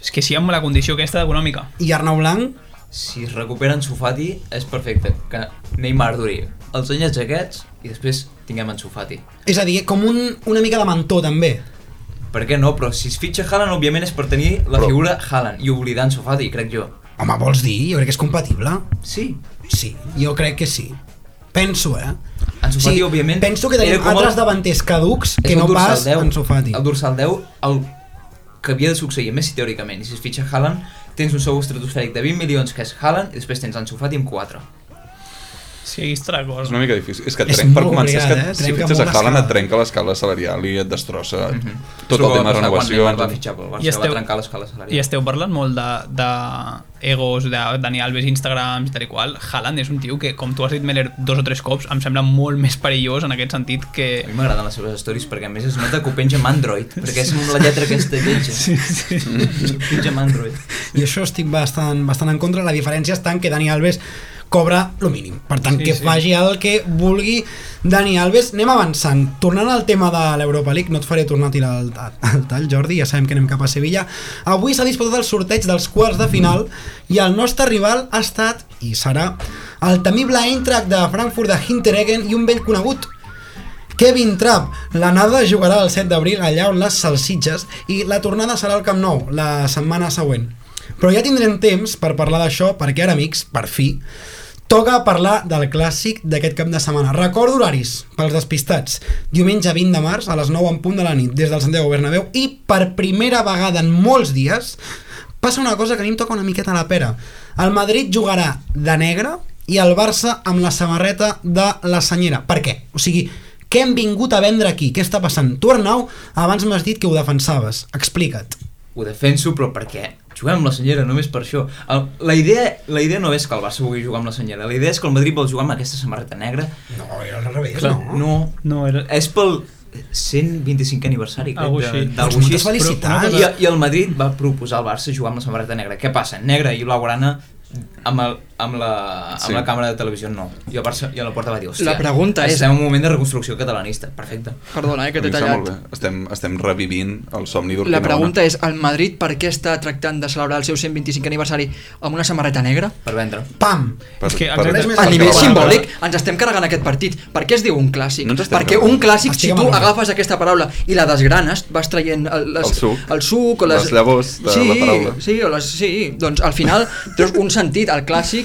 S9: és que si amb la condició aquesta econòmica
S5: i Arnau Blanc,
S7: Si es recuperen Sufati, és perfecte. Que Neymar duri els anyets aquests i després tinguem en Sufati.
S5: és a dir, com un, una mica de mentor també.
S7: Per què no? Però si es fitxa Haaland, òbviament és per tenir la
S8: Però-
S7: figura Haaland i oblidar en Sufati, crec jo.
S5: Home, vols dir? Jo crec que és compatible.
S7: Sí.
S5: Sí, jo crec que sí. Penso, eh?
S7: Ansu Fati, òbviament,
S5: Penso que tenim
S7: era com el-
S5: altres davanters caducs
S7: És
S5: que
S7: el
S5: no
S7: dorsal
S5: pas
S7: 10,
S5: en Sofati.
S7: El dorsal 10, el que havia de succeir, a més si teòricament, i si es fitxa Haaland, tens un sou estratosfèric de 20 milions que és Haaland i després tens Ansu Fati amb 4.
S9: si hagués tres
S8: És
S9: coses
S8: una mica difícil. És que
S5: És
S8: trenc, per
S5: molt
S8: començar, és que
S5: complicat, eh?
S8: si
S5: Trenca
S8: fitxes a
S5: molt
S8: Haaland
S5: l'escala.
S8: et trenca l'escala salarial i et destrossa
S6: Mhm.
S8: tot
S7: És
S8: el
S7: que va passar
S8: tema de
S7: quan Neymar va
S8: renovacions.
S7: fitxar pel
S9: I
S7: Barça,
S9: esteu-
S7: va trencar l'escala salarial.
S9: i esteu parlant molt de, de egos, de Dani Alves, Instagrams i tal i qual, Haaland és un tio que, com tu has dit Meller dos o tres cops, em sembla molt més perillós en aquest sentit que...
S7: A mi m'agraden les seves stories perquè a més es nota que ho penja amb Android, perquè és amb la lletra aquesta lletja. Sí, sí. Ho penja amb Android.
S5: I això estic bastant, bastant en contra. La diferència està en que Dani Alves cobra el mínim. Per tant, sí, que sí. faci el que vulgui Dani Alves. Anem avançant. Tornant al tema de l'Europa League, no et faré tornar a tirar el, ta- el tall, Jordi, ja sabem que anem cap a Sevilla. Avui s'ha disputat el sorteig dels quarts de final i el nostre rival ha estat, i serà, el temible Eintracht de Frankfurt de Hintereggen i un vell conegut, Kevin Trapp, la nada jugarà el 7 d'abril allà on les salsitxes i la tornada serà al Camp Nou la setmana següent. Però ja tindrem temps per parlar d'això perquè ara, amics, per fi, toca parlar del clàssic d'aquest cap de setmana. Record horaris pels despistats. Diumenge 20 de març a les 9 en punt de la nit des del Santiago Bernabéu i per primera vegada en molts dies passa una cosa que a mi em toca una miqueta la pera. El Madrid jugarà de negre i el Barça amb la samarreta de la senyera. Per què? O sigui, què hem vingut a vendre aquí? Què està passant? Tu, Arnau, abans m'has dit que ho defensaves. Explica't.
S7: Ho defenso, però per què? Juguem amb la senyera, només per això. El, la, idea, la idea no és que el Barça vulgui jugar amb la senyera, la idea és que el Madrid vol jugar amb aquesta samarreta negra.
S5: No,
S8: Oh,
S5: era al revés,
S7: no,
S9: No, era...
S5: Eh,
S7: és pel 125 aniversari, crec,
S9: Algo
S7: de-
S9: així.
S7: d'algú
S5: Doncs
S7: així.
S5: moltes felicitats.
S7: Però una cosa- I, I el Madrid va proposar al Barça jugar amb la samarreta negra. Què passa? Negra i blaugrana amb, el, amb, la, amb
S8: Sí.
S7: sí. la càmera de televisió no. I el Barça i a la porta va dir, hòstia,
S6: La pregunta és-
S7: estem en un moment de reconstrucció catalanista. Perfecte.
S6: Perdona, eh, que
S8: A mi
S6: t'he
S8: em sembla molt bé.
S6: tallat.
S8: Estem, estem revivint el somni d'Urquinaona.
S6: La pregunta és, el Madrid per què està tractant de celebrar el seu 125 aniversari amb una samarreta negra?
S7: Per vendre.
S5: Pam!
S8: Per,
S9: És que
S8: per,
S9: exacte-
S8: per,
S6: A nivell
S8: per-
S6: simbòlic, ens estem carregant aquest partit. Per què es diu un clàssic?
S8: No ens estem
S6: Perquè
S8: carregant.
S6: un clàssic, si
S5: Estic
S6: tu
S5: amb el Roc.
S6: agafes aquesta paraula i la desgranes, vas traient el, les,
S8: El suc.
S6: el suc o les,
S8: Les llavors de
S6: sí,
S8: la paraula.
S6: Sí, o les, sí, doncs al final treus un sentit, el clàssic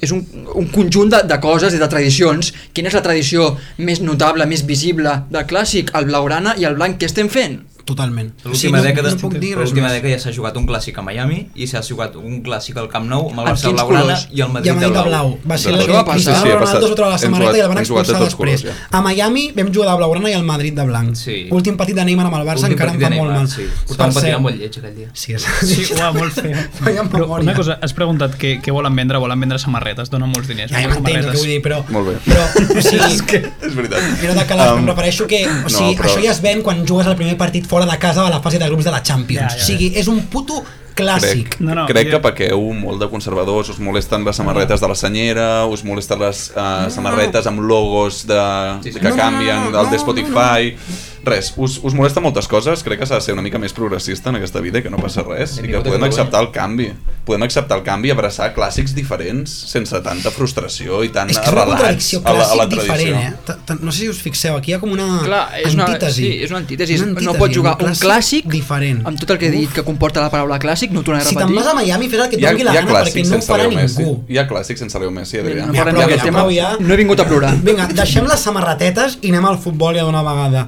S6: és un, un conjunt de, de coses i de tradicions. Quina és la tradició més notable, més visible del clàssic? El blaugrana i el blanc, què estem fent?
S5: Totalment.
S7: L'última
S5: no,
S7: dècada,
S5: no puc dir res
S7: l'última
S5: més.
S7: dècada ja s'ha jugat un clàssic a Miami i s'ha jugat un clàssic al Camp Nou amb el
S6: Amb
S7: Barça
S6: quins
S7: blaugrana
S6: colors?
S7: i el Madrid,
S5: I a Madrid de blau. Va ser
S8: De
S5: la
S8: tot.
S5: que
S6: Va passar.
S5: Cristiano
S8: Sí, sí, ha
S5: Ronaldo
S8: passat.
S5: sota la
S8: Hem
S5: samarreta
S8: jugat-
S5: i el van
S8: hem jugat a
S5: expulsar
S8: tots
S5: després.
S8: colors,
S5: A Miami vam jugar de blaugrana i al Madrid de blanc.
S7: Sí.
S5: Últim partit de Neymar amb el Barça,
S7: Últim
S5: encara em
S7: partit
S5: fa
S7: de
S5: molt
S7: Neymar,
S5: mal.
S7: Sí,
S5: Per
S7: portava un patinant
S5: cert-
S7: molt lleig aquell dia.
S5: Sí, és...
S9: Sí, uah, molt feo.
S5: Vaya
S9: Però
S5: memòria.
S9: una cosa, has preguntat què, què volen vendre? Volen vendre samarretes, donen molts diners.
S5: Ja, ja
S9: volen
S5: m'entens el que
S9: samarretes.
S5: vull dir, però...
S8: Molt bé.
S5: Però, o sigui,
S8: És veritat.
S5: era de calaf, um,
S8: Em,
S5: em refereixo que o
S8: no,
S5: sigui,
S8: però-
S5: això ja es ven quan jugues el primer partit fora de casa a la fase de grups de la Champions.
S9: Ja, ja,
S5: o sigui, és un puto clàssic.
S8: crec,
S9: No,
S8: no,
S9: no,
S8: no, crec
S9: jo-
S8: que pequeu molt de conservadors, us molesten les samarretes de la senyera, us molesten les uh, samarretes amb logos de,
S7: Sí, sí.
S8: que
S7: No, no,
S8: canvien
S5: no,
S8: del
S5: no,
S8: de Spotify... Res, us, us molesta moltes coses, crec que s'ha de ser una mica més progressista en aquesta vida i que no passa res i
S7: Benvingut
S8: que
S7: a
S8: podem
S7: Catalunya.
S8: acceptar el canvi. Podem acceptar el canvi i abraçar clàssics diferents sense tanta frustració i tant
S5: És que és una
S8: arrelats
S5: contradicció
S8: a la,
S5: clàssic
S8: a la
S5: diferent, eh?
S8: tradició.
S5: T- t- No sé si us fixeu, aquí hi ha com una
S6: Clar, és una,
S5: Ah, antítesi.
S6: sí, és una antítesi.
S5: Una
S6: no
S5: antítesi,
S6: pots jugar
S5: un
S6: un clàssic
S5: diferent.
S6: amb tot el que he dit que comporta la paraula clàssic, no ho tornaré a
S5: Si te'n
S6: repetir.
S5: vas a Miami, fes el que et doni la gana, perquè no ho farà
S8: Leo Messi.
S5: ningú.
S8: Hi ha clàssics sense Leo Messi, Adrià.
S6: No
S5: Ja,
S6: parlem
S5: prou
S6: d'aquest
S5: ja,
S6: tema.
S5: prou ja.
S6: No he vingut a plorar.
S5: Vinga, deixem les samarretetes i anem al futbol ja d'una vegada.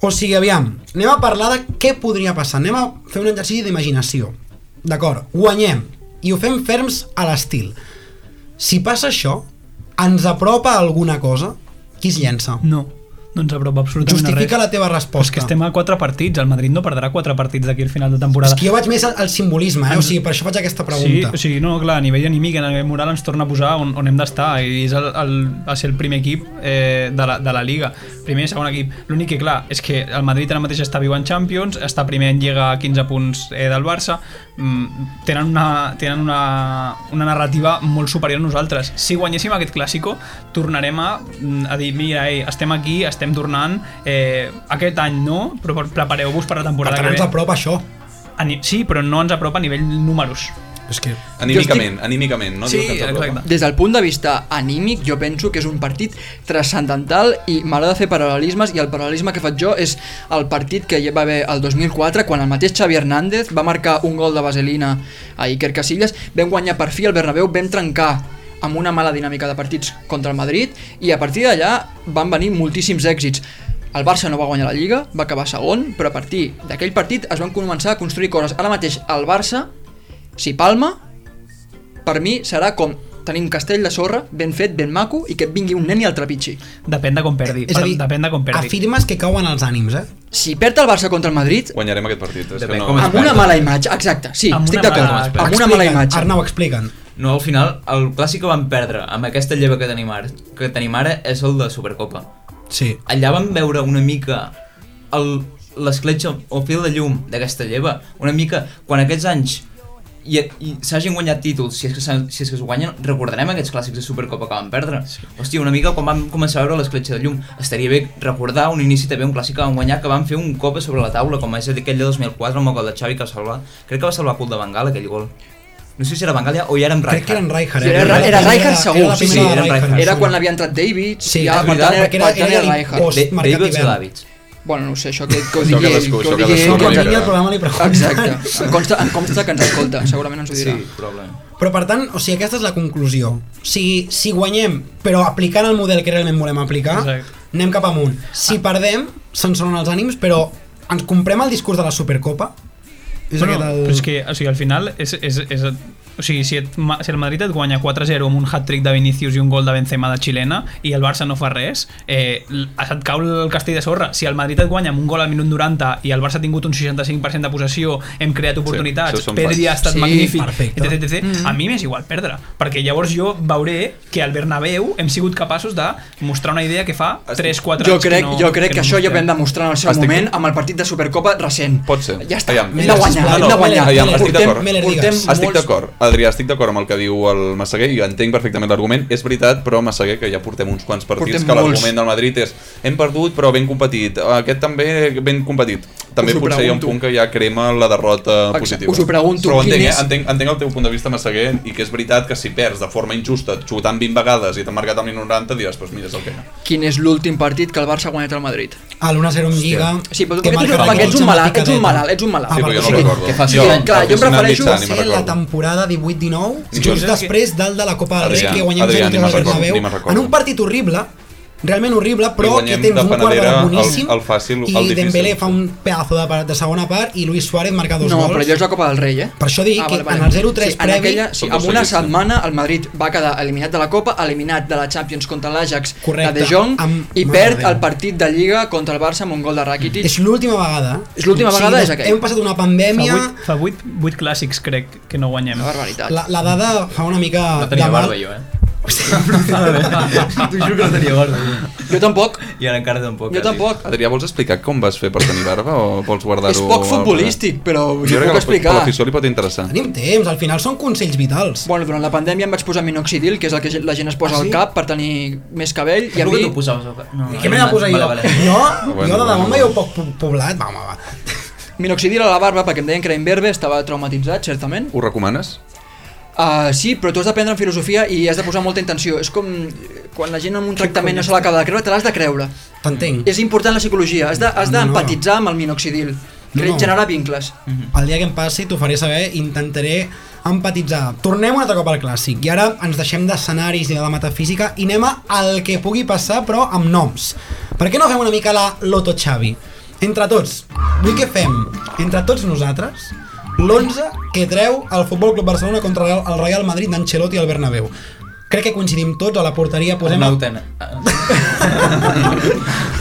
S5: O sigui, aviam, anem a parlar de què podria passar. Anem a fer un exercici d'imaginació. D'acord, guanyem i ho fem ferms a l'estil. Si passa això, ens apropa a alguna cosa? Qui es llença?
S9: No, no ens apropa absolutament a
S5: Justifica
S9: res.
S5: la teva
S9: Però és
S5: resposta.
S9: que estem a quatre partits, el Madrid no perdrà quatre partits d'aquí al final de temporada.
S5: És que jo vaig més al, al simbolisme, eh? o sigui, per això faig aquesta
S9: Sí,
S5: pregunta.
S9: o sigui, no, clar, a nivell anímic, a nivell moral ens torna a posar on, on hem d'estar i és el, el, a ser el primer equip eh, de, la, de la Liga, primer i segon equip l'únic que clar, és que el Madrid ara mateix està viu en Champions, està primer en Lliga a 15 punts eh, del Barça mm, tenen, una, tenen una, una narrativa molt superior a nosaltres si guanyéssim aquest clàssico tornarem a, mm, a dir, mira, ei, estem aquí estem tornant, eh, aquest any no però prepareu-vos per la
S5: per
S9: temporada
S5: tant,
S9: que
S5: ens
S9: ve
S5: apropa això.
S9: A ni- sí, però no ens apropa a nivell números
S5: És que...
S8: Anímicament, anímicament, no?
S9: Sí,
S8: Diu que ens apropa.
S9: exacte.
S6: Des del punt de vista anímic, jo penso que és un partit transcendental i m'agrada fer paral·lelismes i el paral·lelisme que faig jo és el partit que hi va haver el 2004 quan el mateix Xavi Hernández va marcar un gol de vaselina a Iker Casillas, vam guanyar per fi el Bernabéu, vam trencar amb una mala dinàmica de partits contra el Madrid i a partir d'allà van venir moltíssims èxits. El Barça no va guanyar la Lliga, va acabar segon, però a partir d'aquell partit es van començar a construir coses. Ara mateix el Barça, si palma, per mi serà com tenir un castell de sorra ben fet, ben maco i que et vingui un nen i el trepitgi.
S9: Depèn de com perdi.
S5: És a dir,
S9: depèn de com perdi.
S5: afirmes que cauen els ànims, eh?
S6: Si perd el Barça contra el Madrid,
S8: Guanyarem aquest partit. És que
S7: Depèn
S8: no.
S7: com es
S6: amb una mala imatge, exacte, sí,
S9: Amb
S6: estic
S9: una mala-
S6: d'acord, amb una mala
S5: Explica'n,
S6: imatge.
S5: Arnau, explica'n.
S7: No, al final, el clàssic que vam perdre amb aquesta lleva que tenim ara, que tenim ara és el de Supercopa.
S5: Sí.
S7: Allà vam veure una mica el- l'escletxa o fil de llum d'aquesta lleva. Una mica, quan aquests anys i, i s'hagin guanyat títols, si és, que s'han- si és que es guanyen, recordarem aquests clàssics de Supercopa que vam perdre. Sí. Hòstia, una mica quan vam començar a veure l'escletxa de llum, estaria bé recordar un inici també, un clàssic que vam guanyar, que vam fer un cop sobre la taula, com és aquell de 2004 amb el gol de Xavi que va salvar, crec que va salvar cul de Bengal aquell gol. No sé si era Bengalia o ja era en
S5: Crec que eren Rijkaard, eh?
S6: Era- era
S5: la primera-
S6: Rijkaard segur,
S5: era la
S6: sí,
S5: primera
S7: sí,
S5: de
S7: eren
S5: Rijkaard,
S7: Rijkaard.
S5: em
S6: Era
S5: sona.
S6: quan l'havia entrat Davids
S5: Sí,
S6: i ja
S5: és
S6: per
S7: veritat,
S6: tant era,
S5: perquè era-
S6: per tant
S5: era
S6: era
S5: l'im-
S6: Rijkaard.
S5: post-
S7: De,
S5: marcat
S7: Davids o
S5: hivern.
S7: Davids?
S6: Bueno, no ho sé, això que, que ho
S8: Això que
S6: digui ell,
S8: l'escu-
S6: que ho
S8: això que
S6: digui ell,
S5: No,
S8: l'escu-
S6: que
S5: quan
S6: ens-
S5: vingui el programa li pregunto.
S6: Exacte, em consta, em consta que ens escolta, segurament ens ho dirà.
S7: Sí, probablement.
S5: Però per tant, o sigui, aquesta és la conclusió. O sigui, si guanyem, però aplicant el model que realment volem aplicar,
S9: Exacte. Ah.
S5: anem cap amunt. Si perdem, se'n sonen els ànims, però ens comprem el discurs de la Supercopa? És
S9: Bueno,
S5: aquest el...
S9: però és que, o sigui, al final és, és, és, o sigui, si, et, ma- si el Madrid et guanya 4-0 amb un hat-trick de Vinicius i un gol de Benzema de Chilena i el Barça no fa res, eh, l- et cau el castell de sorra. Si el Madrid et guanya amb un gol al minut 90 i el Barça ha tingut un 65% de possessió, hem creat
S8: Sí,
S9: oportunitats,
S8: això són
S9: sí, Pedri
S8: facts.
S9: ha estat
S6: Sí,
S9: magnífic,
S5: perfecte. Mm.
S9: etc, etc. A mi m'és igual perdre, perquè llavors jo veuré que al Bernabéu hem sigut capaços de mostrar una idea que fa 3-4 anys
S6: Jo crec,
S9: que no,
S6: jo crec que,
S9: no
S6: això ja ho
S9: mostrem.
S6: vam demostrar en el seu
S8: Estic-
S6: moment amb el partit de Supercopa recent.
S8: Pot ser.
S6: Ja està,
S8: Aviam.
S6: hem de guanyar,
S5: Sisplau,
S6: hem de
S5: no,
S6: guanyar.
S8: aviam, estic
S6: Portem-
S8: d'acord.
S5: Me les
S6: portem
S5: digues.
S8: Estic
S6: molts-
S8: d'acord, Adrià, estic d'acord amb el que diu el Massaguer i entenc perfectament l'argument, és veritat, però Massaguer, que ja portem uns quants partits,
S6: Portem
S8: que
S6: molts.
S8: l'argument del Madrid és hem perdut però ben competit, aquest també ben competit. També
S6: Us ho
S8: potser hi ha un
S6: pregunto.
S8: punt que ja crema la derrota
S6: Exacte,
S8: positiva.
S6: us ho pregunto,
S8: però ho
S6: quin
S8: entenc,
S6: és-
S8: eh? entenc, entenc el teu punt de vista, Massaguer, i que és veritat que si perds de forma injusta, xutant 20 vegades i t'han marcat al minut 90, diràs, doncs mira, és el que hi ha.
S6: Quin és l'últim partit que el Barça ha guanyat al Madrid?
S5: El 1-0 en Lliga...
S6: Sí, però tu
S5: que marca
S6: perquè ets un- perquè ets
S5: Rakitic,
S6: un malalt, ets un
S5: picadeta.
S6: malalt, ets un malalt.
S8: Sí,
S5: Ah,
S8: però jo
S5: sí,
S8: no recordo.
S7: que faci-
S6: clar, jo
S8: al final
S6: prefereixo
S8: mitjà, ni
S5: Va
S8: me'n
S5: ser la
S8: recordo.
S5: temporada 18-19,
S8: Jo
S5: just
S8: sé
S5: després del de la Copa del Rei,
S8: Adrià,
S5: que guanyem
S8: Adrià,
S5: Adrià,
S8: ni me'n
S5: al
S8: recordo,
S5: Bernabéu,
S8: ni me'n recordo.
S5: en un partit horrible, realment horrible,
S8: I
S5: però que
S8: guanyem
S5: tens
S8: de
S5: un quart
S8: Panadera
S5: d'hora
S8: al-
S5: boníssim,
S8: al fàcil, al
S5: i
S8: difícil.
S5: Dembélé fa un pedazo de, part- de segona part, i Luis Suárez marca dos
S6: No,
S5: gols.
S6: però allò és la Copa del Rei, eh?
S5: Per això dic que en el 0-3
S6: sí, en
S5: previ-
S6: aquella, sí,
S8: Són
S6: en
S8: dos
S6: una
S8: seguits, sí.
S6: setmana el Madrid va quedar eliminat de la Copa, eliminat de la Champions contra l'Ajax de
S5: Correcte,
S6: De Jong
S5: amb-
S6: i
S5: Mare
S6: perd
S5: Déu.
S6: el partit de Lliga contra el Barça amb un gol de Rakitic.
S5: És l'última vegada. eh?
S6: És l'última vegada, és aquell.
S5: Hem passat una pandèmia...
S9: Fa 8, fa 8, 8 clàssics crec que no guanyem.
S6: Una barbaritat.
S5: La, la dada fa una mica
S6: Ah,
S7: No tenia
S5: de mal.
S7: barba jo, eh? T'ho juro que no tenia barba.
S6: Jo tampoc,
S7: I ara encara tampoc.
S6: jo
S7: quasi.
S6: tampoc.
S8: Adrià, vols explicar com vas fer per tenir barba o vols guardar-ho?
S6: És poc
S8: al-
S6: futbolístic, però ho
S8: Jo
S6: puc
S8: crec que a
S6: explicar.
S8: l'afició li pot interessar.
S5: Tenim temps, al final són consells vitals.
S6: Bueno, durant la pandèmia em vaig posar minoxidil, que és el que la gent es
S5: Ah,
S6: posa al cap per tenir més cabell, i a
S7: Tu que
S6: mi...
S7: t'ho posaves al cap? No,
S5: I què m'he de posar jo?
S7: Vale, vale.
S5: Jo,
S8: Bueno,
S5: jo de debò
S8: bueno.
S5: m'he poc po- poblat. Va, home, va.
S6: Minoxidil a la barba, perquè em deien que era imberbe, estava traumatitzat, certament.
S8: Ho recomanes?
S6: Uh, sí, però tu has d'aprendre en filosofia i has de posar molta intenció. És com eh, quan la gent en un tractament no se l'acaba de creure, te l'has de creure.
S5: T'entenc.
S6: És important la psicologia, has de- has
S5: No, no.
S6: d'empatitzar amb el minoxidil. Cre-
S5: no.
S6: Generar vincles.
S5: El dia que em passi t'ho faré saber, intentaré empatitzar. Tornem un altre cop al clàssic i ara ens deixem d'escenaris i de la metafísica i anem al que pugui passar però amb noms. Per què no fem una mica la Loto Xavi? Entre tots, vull que fem, entre tots nosaltres, L'11 que treu el Futbol Club Barcelona contra el- el Real Madrid d'Ancelotti al Bernabéu. Crec que coincidim tots, a la porteria posem...
S7: Posem
S5: el-
S7: el ten...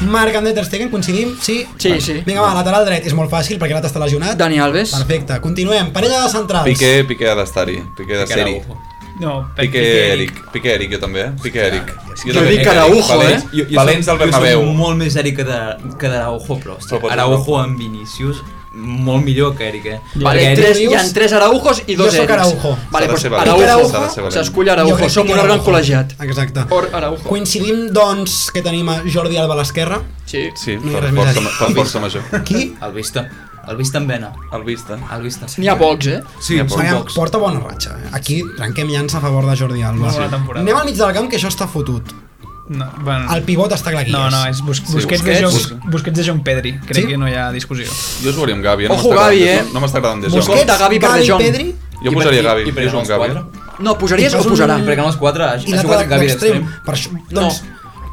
S5: Marc André Ter Stegen, coincidim? Sí?
S6: Sí, sí. Doncs-
S5: Vinga, va, lateral dret, és molt fàcil perquè l'altre està lesionat.
S6: Dani Alves.
S5: Perfecte, continuem. Parella de centrals.
S8: Piqué, Piqué ha d'estar-hi. Piqué ha de ser-hi.
S9: No,
S8: Piqué, Eric. Piqué, Eric, jo també. eh? Piqué, Eric.
S6: Jo dic Araujo,
S8: Valents,
S6: eh?
S8: Jo, jo Valents del Bernabéu.
S7: Jo soc molt més Eric que, de, que d'Araujo, però hòstia,
S8: Però pot ser
S7: Araujo amb Vinicius, molt millor que Eric, eh?
S6: Vale,
S7: Perquè
S6: tres,
S5: dius-
S6: hi ha tres Araujos i dos
S5: Jo sóc
S6: Erics.
S5: Araujo.
S6: Vale,
S8: S'ha de
S6: pues
S8: ser valent, s'ha de ser
S6: Araujo
S8: valent.
S6: s'escull
S5: Jo crec
S6: Araujo.
S5: que
S6: Som un
S5: Piqué
S6: òrgan
S5: Araujo.
S6: col·legiat.
S5: Exacte.
S6: Or Araujo.
S5: Coincidim, doncs, que tenim a Jordi Alba a l'esquerra.
S6: Sí.
S8: Sí,
S5: No hi ha
S8: per
S5: res més
S8: força,
S5: a dir.
S8: ma- per força major.
S5: Qui?
S7: El Vista. El Vista en vena.
S8: El vista.
S7: El Vista.
S6: N'hi ha pocs, eh?
S7: Sí,
S8: N'hi ha
S7: són
S8: pocs.
S5: Aviam,
S7: pocs.
S5: porta bona ratxa. eh? Aquí trenquem llança a favor de Jordi Alba.
S9: Molt bona temporada.
S5: Anem al mig del camp, que això està fotut.
S9: No, bueno.
S5: El pivot està clar qui
S9: No, no, és bus busquets,
S8: Busquets.
S9: de Jong, busquets de Jong Pedri. Crec
S5: Sí?
S9: que no hi ha discussió.
S8: Jo jugaria amb Gavi. eh? No
S6: Ojo,
S8: m'està agradant
S6: Gavi,
S8: gens,
S6: eh?
S8: No, no m'està agradant des
S6: Busquets.
S8: de
S6: Compte, Gavi per De Jong.
S5: Pedri
S8: Jo posaria Gavi. Jo
S7: prenem
S8: jugo
S7: els
S8: amb Gavi.
S7: quatre?
S6: No, posaries
S5: I
S6: o
S5: fas un-
S6: posarà?
S5: Mm.
S7: Prenem els quatre, ha, ha
S5: i
S7: jugat
S5: l'altre
S7: Gavi
S5: d'extrem.
S7: d'extrem.
S5: Per això, doncs,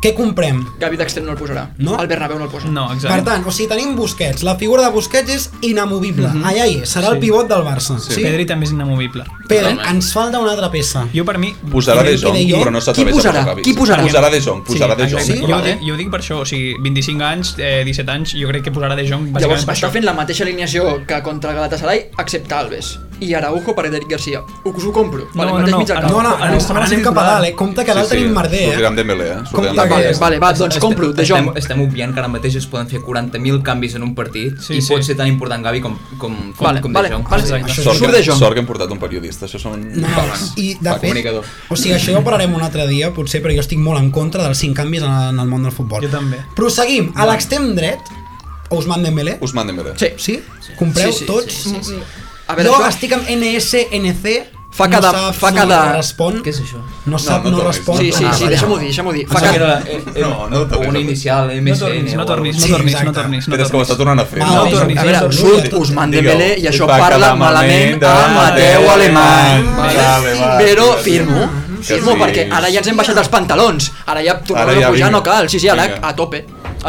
S5: què comprem?
S6: Gavi d'extrem no el posarà.
S5: No?
S6: El Bernabéu no el posa.
S9: No,
S5: Per
S9: exacte.
S5: tant, o sigui, tenim Busquets. La figura de Busquets és inamovible. Allà hi és, serà el pivot del Barça. Sí.
S9: Pedri també és inamovible.
S5: Pedri, ens falta una altra peça.
S9: Jo per mi...
S8: Posarà De Jong,
S5: Qui De Jong?
S8: però no s'atreveix
S6: Qui
S8: a posar
S6: posarà?
S8: Gavi.
S6: Qui posarà?
S8: Posarà De Jong, posarà De Jong.
S9: eh, exacte.
S5: Sí?
S9: jo, ho
S5: Vale.
S9: dic, jo ho dic per això, o sigui, 25 anys, eh, 17 anys, jo crec que posarà De Jong
S6: Llavors
S9: bàsicament per
S6: està
S9: això.
S6: fent la mateixa alineació que contra el Galatasaray, excepte Alves. I Araujo per Eric Garcia. Us ho compro. Vale,
S9: No,
S6: mateix
S9: no,
S6: mig del
S9: no.
S6: camp.
S5: No, no,
S9: Ara
S5: ara estem
S9: anem
S5: anant cap a
S9: jugant.
S5: dalt, eh? Compte que dalt tenim Merder, eh?
S8: Sortiran Dembélé, eh? Sortiran
S5: Compte
S8: Dembélé.
S5: que-
S6: Vale, vale, va, doncs compro, De Jong.
S7: Estem, estem obviant que ara mateix es poden fer 40.000 canvis en un partit
S9: Sí,
S7: i
S9: sí.
S7: pot ser tan important Gavi com, com, com,
S6: Vale,
S7: com
S6: vale,
S7: De Jong.
S6: vale.
S9: Exacte.
S6: Això
S8: Sort
S6: surt De
S8: que,
S6: Jong.
S8: sort que hem portat un periodista, això són
S5: No,
S8: facts.
S5: i de
S7: Va,
S5: fet,
S7: comunicador.
S5: o sigui, això ja ho parlarem un altre dia, potser, però jo estic molt en contra dels cinc canvis en, en el món del futbol.
S9: Jo també.
S5: Proseguim, a l'extrem dret, Ousmane Dembélé,
S8: Usman Dembélé.
S6: Sí.
S5: sí? Compreu
S6: Sí, sí,
S5: tots?
S6: sí, sí, sí. A veure,
S5: Jo
S6: això-
S5: estic amb NSNC,
S6: Fa cada-
S5: no sap,
S6: fa
S5: no
S6: cada-
S5: respon,
S7: Què és això?
S5: no sap,
S8: No,
S5: no,
S8: no tornis,
S5: respon.
S6: Sí, sí,
S5: Ah,
S6: sí,
S5: vaja.
S6: deixa'm-ho dir, deixa'm-ho dir. Fa
S7: Pensava que
S6: cada...
S7: era, eh, eh,
S8: No, no,
S7: una inicial,
S9: No
S7: MSN.
S9: tornis, no tornis, no
S5: Sí,
S9: tornis, no
S5: exacte.
S9: tornis, no
S8: Espera, és que ho
S9: tornis.
S8: està tornant a fer.
S5: Va,
S9: No,
S5: va,
S9: tornis,
S5: a
S9: no
S5: veure,
S9: tornis.
S5: Ah, surt
S6: Us
S5: Ousmane.
S6: Dembélé i
S8: Digueu,
S6: això
S8: va
S6: parla
S8: quedar
S6: malament
S8: malament
S6: de
S8: de
S6: Mateu
S8: Mateu
S6: Alemany.
S8: Alemany.
S6: Vale?
S8: Vale, vale.
S6: Però
S8: Que sí.
S6: firmo,
S8: Que
S6: firmo
S8: sí.
S6: perquè ara ja ens hem baixat els pantalons. Ara ja
S8: Ara
S6: tornem a
S8: ja
S6: pujar,
S8: vinga.
S6: no cal. Sí, sí, ara
S8: Vinga.
S6: a tope.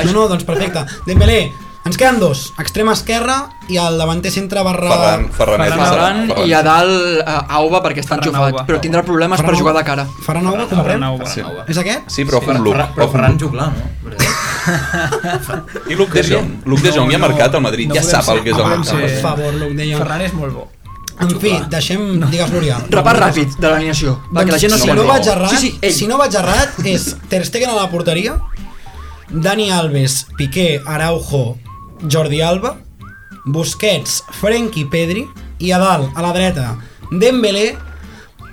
S5: No, no, doncs perfecte. Dembélé, ens queden dos, extrema esquerra i el davanter centre barra...
S8: Ferran, Ferranet.
S6: Ferran i a dalt eh, Auba perquè està
S9: Ferran
S6: enxufat,
S9: Auba.
S6: però tindrà problemes per
S5: Ferran-
S6: jugar de cara.
S5: Ferran Auba,
S9: Ferran
S5: comprem?
S9: Auba.
S8: Sí.
S5: És aquest?
S8: Sí, però ojo
S7: Fer-
S8: amb Luc.
S7: Ferran- però
S8: ojo amb
S7: Ferran
S8: Luc.
S7: juglar, no?
S8: I Luc de Jong. Luc de Jong ja ha marcat al Madrid, ja sap el que és el
S5: Home,
S8: Madrid.
S5: Per favor, Luc de Jong.
S9: Eh, Ferran és molt bo.
S5: En fi, deixem... Digues, L'Oriol.
S6: Repàs ràpid de l'alineació, perquè la gent no
S5: Doncs si
S6: s'hi
S5: no
S8: vol.
S5: vaig errat,
S6: Sí, sí, ell.
S5: si no vaig errat, és Ter Stegen a la porteria, Dani Alves, Piqué, Araujo, Jordi Alba, Busquets, Frenkie Pedri, i a dalt, a la dreta, Dembélé,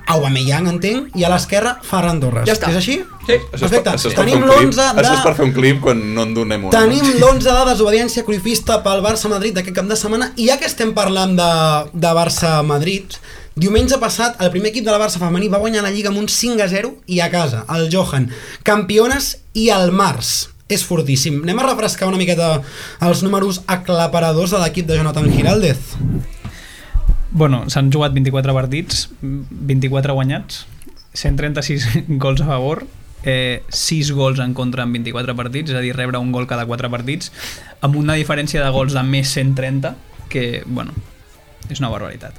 S5: Aubameyang, entenc, i a l'esquerra, Ferran Torres.
S6: Ja està.
S5: És així?
S6: Sí.
S8: Això és per-
S5: Perfecte.
S8: això és per fer
S5: Tenim
S8: un clip.
S5: l'11 de...
S8: Això és per fer un clip quan no en donem un.
S5: Tenim l'11 de desobediència cruifista pel Barça-Madrid d'aquest cap de setmana i ja que estem parlant de, de Barça-Madrid diumenge passat el primer equip de la Barça femení va guanyar la Lliga amb un 5 a 0 i a casa, el Johan, campiones i el març és fortíssim. Anem a refrescar una miqueta els números aclaparadors de l'equip de Jonathan Giraldez.
S9: Bueno, s'han jugat 24 partits, 24 guanyats, 136 gols a favor, eh, 6 gols en contra en 24 partits, és a dir, rebre un gol cada 4 partits, amb una diferència de gols de més 130, que, bueno, és una barbaritat.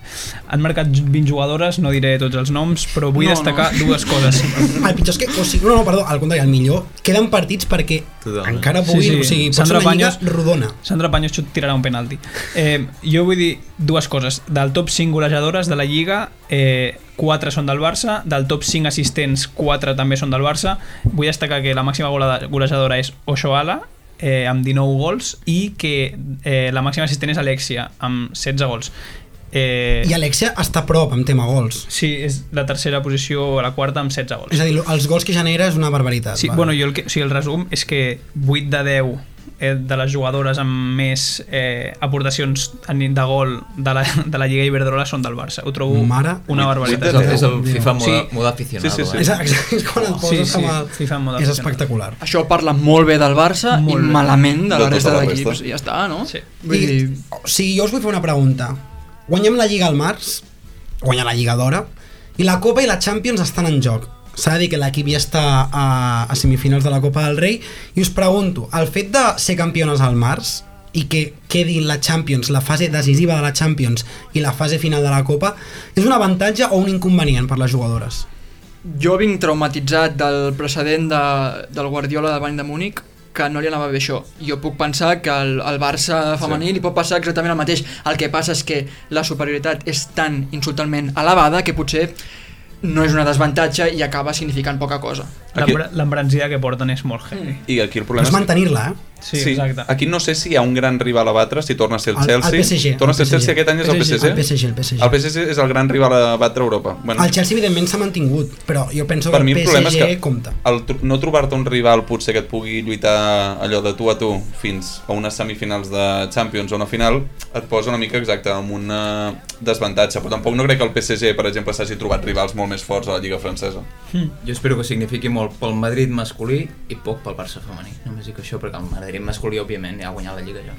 S9: Han marcat 20 jugadores, no diré tots els noms, però vull
S6: No,
S9: no, destacar no. dues coses.
S5: El pitjor és que... O sigui, no, no, perdó, al contrari, el millor. Queden partits perquè
S7: Totalment.
S5: encara
S9: Sí,
S5: puguin...
S9: sí.
S5: O sigui, pot ser
S9: Sandra
S5: una lliga
S9: Baños-
S5: rodona.
S9: Sandra Panyos xut tirarà un penalti. Eh, jo vull dir dues coses. Del top 5 golejadores de la Lliga, eh, 4 són del Barça, del top 5 assistents, 4 també són del Barça. Vull destacar que la màxima golada- golejadora és Oshoala, eh, amb 19 gols, i que eh, la màxima assistent és Alexia, amb 16 gols. Eh,
S5: I Alexia està a prop amb tema gols.
S9: Sí, és la tercera posició a la quarta amb 16 gols.
S5: És a dir, els gols que genera és una barbaritat.
S9: Sí,
S5: va.
S9: bueno, jo el, que, o sigui, el resum és que 8 de 10 eh, de les jugadores amb més eh, aportacions a nit de gol de la, de la Lliga Iberdrola són del Barça. Ho trobo
S5: Mare.
S9: una
S7: És
S9: barbaritat.
S7: el, és el FIFA
S9: Sí.
S7: moda, moda aficionado.
S8: Sí, sí, sí.
S7: Eh?
S5: És, és quan et poses
S9: sí,
S5: sí, amb el...
S9: sí, fa molt de
S5: és
S9: pena.
S5: espectacular.
S6: Això parla molt bé del Barça i
S9: Molt bé.
S6: malament de la
S8: De
S6: resta
S8: tota la
S6: d'equips.
S8: resta.
S6: Ja està, no?
S9: Sí.
S6: Vull dir,
S5: I, o sigui, jo us vull fer una pregunta. Guanyem la Lliga al març, guanyar la Lliga d'hora, i la Copa i la Champions estan en joc. S'ha de dir que l'equip ja està a, a semifinals de la Copa del Rei i us pregunto, el fet de ser campiones al març i que quedi la Champions, la fase decisiva de la Champions i la fase final de la Copa, és un avantatge o un inconvenient per les jugadores?
S6: Jo vinc traumatitzat del precedent de, del Guardiola de Bany de Múnich que no li anava bé això. Jo puc pensar que el, el Barça femení sí. li pot passar exactament el mateix. El que passa és que la superioritat és tan insultantment elevada que potser no és una desavantatge i acaba significant poca cosa.
S8: Aquí-
S9: L'embra- L'embranzida que porten és molt heavy.
S8: I aquí el
S5: No
S8: problema
S5: és mantenir-la, eh?
S9: Sí, sí, exacte.
S8: Aquí no sé si hi ha un gran rival a batre, si torna a ser el
S5: El- el
S8: Chelsea.
S5: PSG,
S8: Torna a ser
S5: el
S8: el
S5: PSG.
S8: Chelsea aquest any és el PSG?
S5: El PSG, el PSG.
S8: El PSG és el gran rival a batre a Europa. Bueno,
S5: El Chelsea, evidentment, s'ha mantingut, però jo penso
S8: per
S5: que
S8: mi
S5: el
S8: el problema és
S5: PSG
S8: que
S5: compta. Ah,
S8: el, tr- no trobar-te un rival potser que et pugui lluitar allò de tu a tu fins a unes semifinals de Champions o una final et posa una mica exacte amb un eh, desavantatge, però tampoc no crec que el PSG per exemple s'hagi trobat rivals molt més forts a la Lliga Francesa.
S7: Jo espero que signifiqui molt pel Madrid masculí i poc pel Barça femení. Només dic això perquè el Madrid masculí, òbviament, ja ha guanyat la Lliga ja.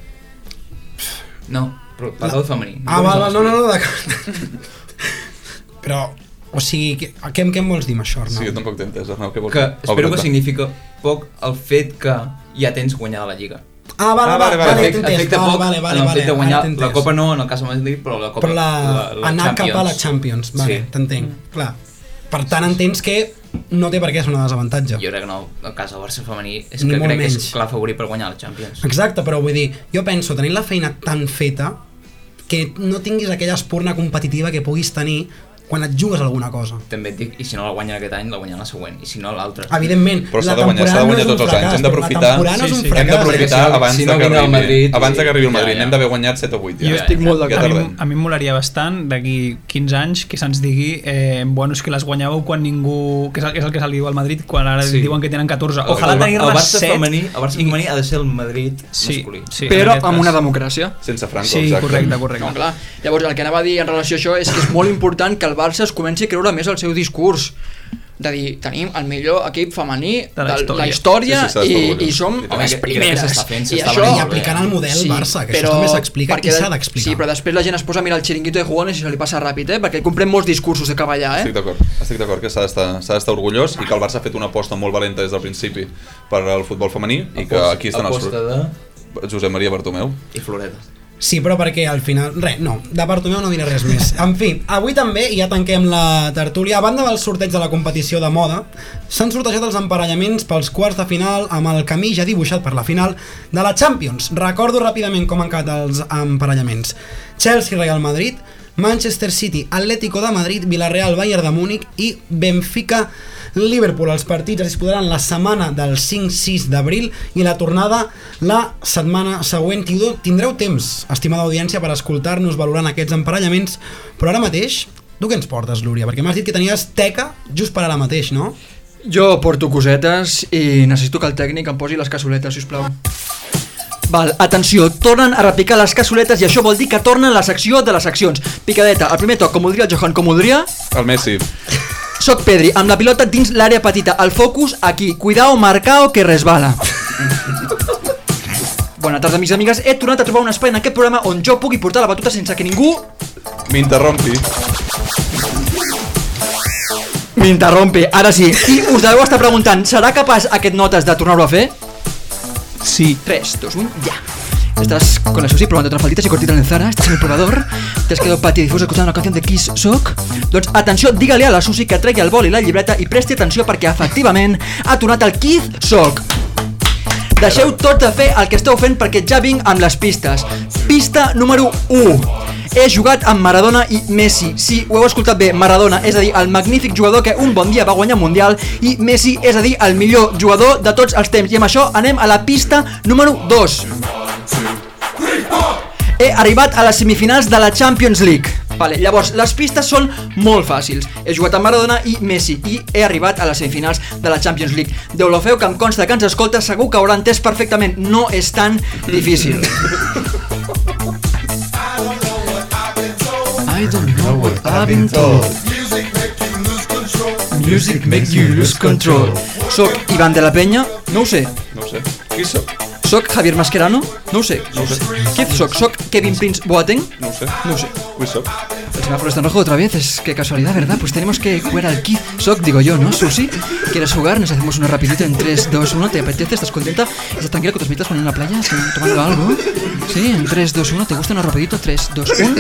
S7: No, però parlo del femení. Doncs
S5: Ah,
S7: Jo
S5: val,
S7: no
S5: val, no, no, no, d'acord. però, o sigui, què, què, què em vols dir amb això,
S8: Sí, jo
S5: Arnau?
S8: tampoc t'he entès, Arnau, què vols
S7: Que
S8: dir? tota.
S7: espero
S8: Obre-te.
S7: que significa poc el fet que ja tens guanyada la Lliga.
S5: ah, vale,
S8: Ah,
S5: vale, vale,
S8: vale,
S5: vale,
S7: Afecta-
S5: t'he entès.
S7: afecta
S5: Vale,
S7: poc
S5: vale, vale,
S7: en el
S5: vale,
S7: fet de guanyar
S5: ara t'he
S7: la
S5: entès.
S7: Copa no, en el cas de Madrid, però la Copa...
S5: Però la, la anar
S7: Champions.
S5: cap a la Champions, vale, sí.
S7: Sí. Mm.
S5: t'entenc, clar. Per tant, entenc que no té per què ser un desavantatge.
S7: Jo crec que no, el cas del Barça femení és
S5: Ni
S7: que
S5: molt
S7: crec que
S5: menys.
S7: és clar favorit per guanyar la Champions.
S5: Exacte, però vull dir, jo penso, tenint la feina tan feta, que no tinguis aquella espurna competitiva que puguis tenir quan et jugues alguna cosa.
S7: També et dic, i si no la guanyen aquest any, la guanyen la següent, i si no l'altra.
S5: Evidentment,
S8: Però
S5: la
S8: s'ha de guanyar, s'ha
S5: temporada no
S8: de
S5: és
S8: guanyar
S5: un
S8: tots els anys,
S5: fracàs,
S8: hem d'aprofitar.
S5: però La temporada
S9: Sí,
S5: no és
S9: sí,
S5: un
S8: Hem
S5: fracàs.
S8: d'aprofitar
S7: eh, Si no
S8: abans, de que
S7: vingui el
S8: arribi,
S7: Madrid,
S8: abans de
S7: sí.
S8: que arribi el
S7: Ja,
S8: Madrid.
S7: ja.
S8: N'hem d'haver guanyat 7 o 8. Ja.
S9: Jo
S7: estic
S6: molt
S8: ja
S9: A mi,
S8: tardem.
S9: a mi em molaria bastant d'aquí 15 anys que se'ns digui eh, bueno, és que les guanyàveu quan ningú que és el, és el que se li diu al Madrid quan ara sí.
S7: Sí.
S9: diuen que tenen
S7: El-
S9: 14 ojalà
S7: el, el
S9: tenir-ne
S7: Barça
S9: 7
S7: femení, el Barça femení ha de ser el Madrid
S9: sí,
S7: masculí.
S9: sí,
S6: Però
S9: en aquest
S6: amb una
S9: cas.
S6: democràcia.
S8: Sense Franco,
S9: sí,
S8: exacte.
S9: correcte, correcte
S6: No, clar. Llavors, el que anava a dir en relació a això és que és molt important que el Barça es comenci a creure més el seu discurs de dir, tenim el millor equip femení de la història, la història
S8: Sí, sí, s'ha d'estar
S6: i, i
S8: orgullós.
S6: som
S8: I també
S6: les
S7: crec- crec que
S6: primeres.
S7: s'està fent,
S6: I
S7: s'està
S6: això...
S7: venent
S5: I aplicant el model Barça, que això també s'explica
S6: perquè
S5: i
S6: de-
S5: s'ha d'explicar.
S6: Sí, però després la gent es posa a mirar el xiringuito de jugones i se li passa ràpid, eh? Perquè comprem molts discursos de cavallar, eh?
S8: Estic d'acord, estic d'acord que s'ha d'estar s'ha d'estar orgullós i que el Barça ha fet una aposta molt valenta des del principi per al futbol femení i que
S7: Aposta-
S8: aquí estan els
S7: Aposta de...
S8: fruits. Josep Maria Bartomeu.
S7: i Floreta.
S5: Sí, però perquè al final... Res, no, de Bartomeu no diré res més. En fi, avui també ja tanquem la tertúlia. A banda del sorteig de la competició de moda, s'han sortejat els emparellaments pels quarts de final amb el camí ja dibuixat per la final de la Champions. Recordo ràpidament com han quedat els emparellaments. Chelsea-Real Madrid, Manchester City, Atlético de Madrid, Villarreal, Bayern de Múnich i Benfica Liverpool. Els partits es disputaran la setmana del 5-6 d'abril i la tornada la setmana següent. Tindreu- Tindreu temps, estimada audiència, per escoltar-nos valorant aquests emparellaments, però ara mateix tu què ens portes, Lúria? Perquè m'has dit que tenies teca just per ara mateix, no?
S6: Jo porto cosetes i necessito que el tècnic em posi les cassoletes, si us plau. Val, atenció, tornen a repicar les cassoletes i això vol dir que tornen la secció de les seccions. Picadeta, el primer toc, com voldria el Johan, com voldria...
S8: El Messi.
S6: Soc Pedri, amb la pilota dins l'àrea petita, el focus aquí. Cuidao, marcao, que resbala. Bona tarda, amics i amigues. He tornat a trobar un espai en aquest programa on jo pugui portar la batuta sense que ningú
S8: M'interrompi.
S6: m'interrompi. Ara sí. I us deveu estar preguntant, serà capaç aquest notes de tornar-ho a fer?
S9: sí,
S6: 3, 2, 1, ya. Estás con las sushi probando otras falditas y cortito en el Zara, estás en el probador, te has quedado patidifuso escuchando una canción de Kiss Sock? Doncs atenció, digue-li a la Susi que tregui el bol i la llibreta i presti atenció perquè efectivament ha tornat el Kiss Sock. Deixeu tot de fer el que esteu fent perquè ja vinc amb les pistes. Pista número 1. He jugat amb Maradona i Messi. Sí, ho heu escoltat bé, Maradona, és a dir, el magnífic jugador que un bon dia va guanyar el Mundial i Messi, és a dir, el millor jugador de tots els temps. I amb això anem a la pista número 2. He arribat a les semifinals de la Champions League. Vale, llavors, les pistes són molt fàcils. He jugat amb Maradona i Messi i he arribat a les semifinals de la Champions League. Deulofeu, que em consta que ens escolta, segur que haurà entès perfectament. No és tan difícil. I don't know what I've been told. Music makes you lose control. Soc Ivan de la Penya? No ho sé.
S8: No ho sé. Qui sóc?
S6: Soc Javier Mascherano? No ho sé. No ho sé. Qui soc? Soc Kevin Prince Boateng?
S8: No ho sé.
S6: No ho sé.
S8: Wissop.
S6: Se va por este rojo otra vez, es que casualidad, ¿verdad? Pues tenemos que jugar al Kid Sock, digo yo, ¿no, Susi? ¿Quieres jugar? Nos hacemos uno rapidito en 3, 2, 1. ¿Te apetece? ¿Estás contenta? ¿Estás tranquila con tus meditas cuando en la playa? ¿Sí? ¿Tomando algo? Sí, en 3, 2, 1. ¿Te gusta uno rapidito? 3, 2, 1.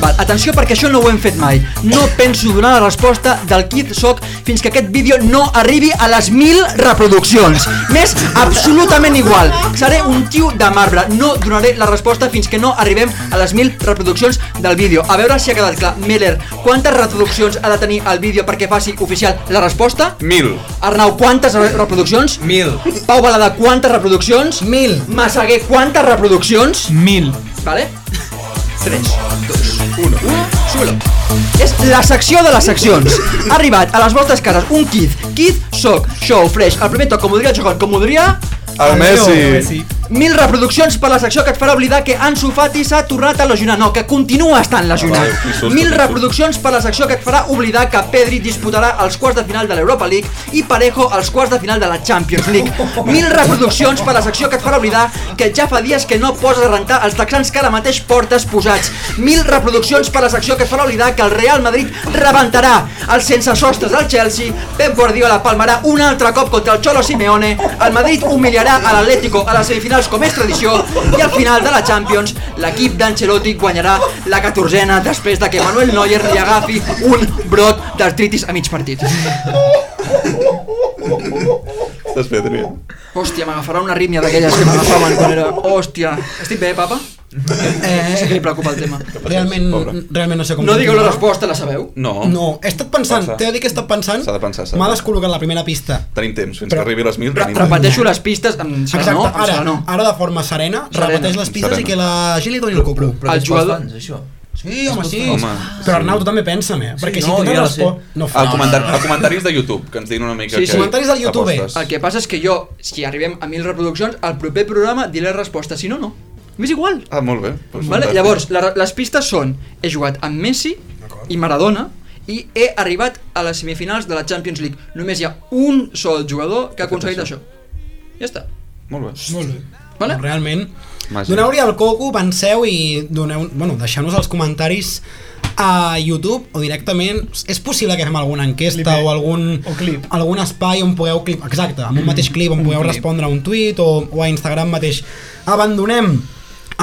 S6: Val, atenció perquè això no ho hem fet mai. No penso donar la resposta del Kid Sock fins que aquest vídeo no arribi a les 1.000 reproduccions. M'és absolutament igual. Seré un tio de marbre. No donaré la resposta fins que no arribem a les 1.000 reproduccions del vídeo. A veure si ha quedat clar. Miller, quantes reproduccions ha de tenir el vídeo perquè faci oficial la resposta?
S8: Mil.
S6: Arnau, quantes re- reproduccions?
S7: Mil.
S6: Pau Balada, quantes reproduccions? 1.000. Massaguer, quantes reproduccions?
S9: Mil.
S6: ¿Vale? 3, 2, 1, 1, súbelo. És la secció de les seccions. Ha arribat a les vostres cases un kit. Kit, soc, show, fresh. El primer toc, com voldria el segon, com voldria...
S8: El Messi.
S9: Sí.
S6: Mil reproduccions per la secció que et farà oblidar que Ansu Fati s'ha tornat a lesionar. No, que continua estant lesionat.
S8: Adéu, insulta,
S6: Mil
S8: insulta.
S6: reproduccions per la secció que et farà oblidar que Pedri disputarà els quarts de final de l'Europa League i Parejo els quarts de final de la Champions League. Mil reproduccions per la secció que et farà oblidar que ja fa dies que no poses a rentar els texans que ara mateix portes posats. Mil reproduccions per la secció que et farà oblidar que el Real Madrid rebentarà els sense sostres del Chelsea, Pep Guardiola palmarà un altre cop contra el Cholo Simeone, el Madrid humiliarà a l'Atlético a les semifinals com és tradició i al final de la Champions l'equip d'Ancelotti guanyarà la catorzena després de que Manuel Neuer li agafi un brot d'artritis a mig partit.
S8: Estàs fet, Adrià.
S6: Hòstia, m'agafarà una rítmia d'aquelles que m'agafaven quan era... Hòstia, estic bé, papa? Eh... Sí que li preocupa el tema.
S5: Realment,
S8: Pobre.
S5: realment no sé com...
S6: No digueu la
S5: continuar.
S6: resposta, la sabeu?
S8: No.
S5: No, he estat pensant,
S8: Passa.
S5: t'he de dir que he estat pensant.
S8: S'ha de pensar, s'ha de
S5: M'ha
S8: pensar.
S5: descol·locat la primera pista.
S8: Tenim temps, fins
S5: Però-
S8: que arribi a les mil.
S5: Re-
S8: Tenim temps.
S6: Repeteixo les pistes, em serà
S5: Exacte,
S6: no, em
S5: ara,
S6: serà no.
S5: ara de forma serena,
S6: Serena.
S5: repeteix les pistes
S8: Serena.
S5: i que la Gili doni el copro.
S7: Però
S6: El
S7: el jugador...
S6: jugador-
S7: Fans, això.
S5: Sí, home, sí.
S8: Home,
S5: Però Arnau, tu també pensa, eh? Perquè si
S7: no,
S5: tu no
S7: ja la
S5: respon...
S7: sé.
S5: No
S8: A,
S5: fa.
S8: comentar a comentaris de YouTube, que ens diguin una mica
S6: Sí,
S8: que...
S6: sí. Comentaris
S5: del YouTube.
S6: El Ah, que passa és que jo, si arribem a 1.000 reproduccions, al proper programa diré la resposta, si no, no. M'és igual.
S8: Ah, molt bé. Doncs
S6: Vale?
S8: fantàstic.
S6: Llavors, la, les pistes són, he jugat amb Messi i Maradona i he arribat a les semifinals de la Champions League. Només hi ha un sol jugador que ha aconseguit això. Ja està.
S8: Molt bé.
S5: Molt bé.
S6: Vale?
S5: Realment.
S8: Màgia.
S5: Doneu-li al coco, penseu i doneu, bueno, deixeu-nos els comentaris a YouTube o directament és possible que fem alguna enquesta o algun,
S9: O clip.
S5: algun espai on pugueu clip, exacte, amb Mm. un mateix clip on pugueu respondre a un tuit o, o a Instagram mateix abandonem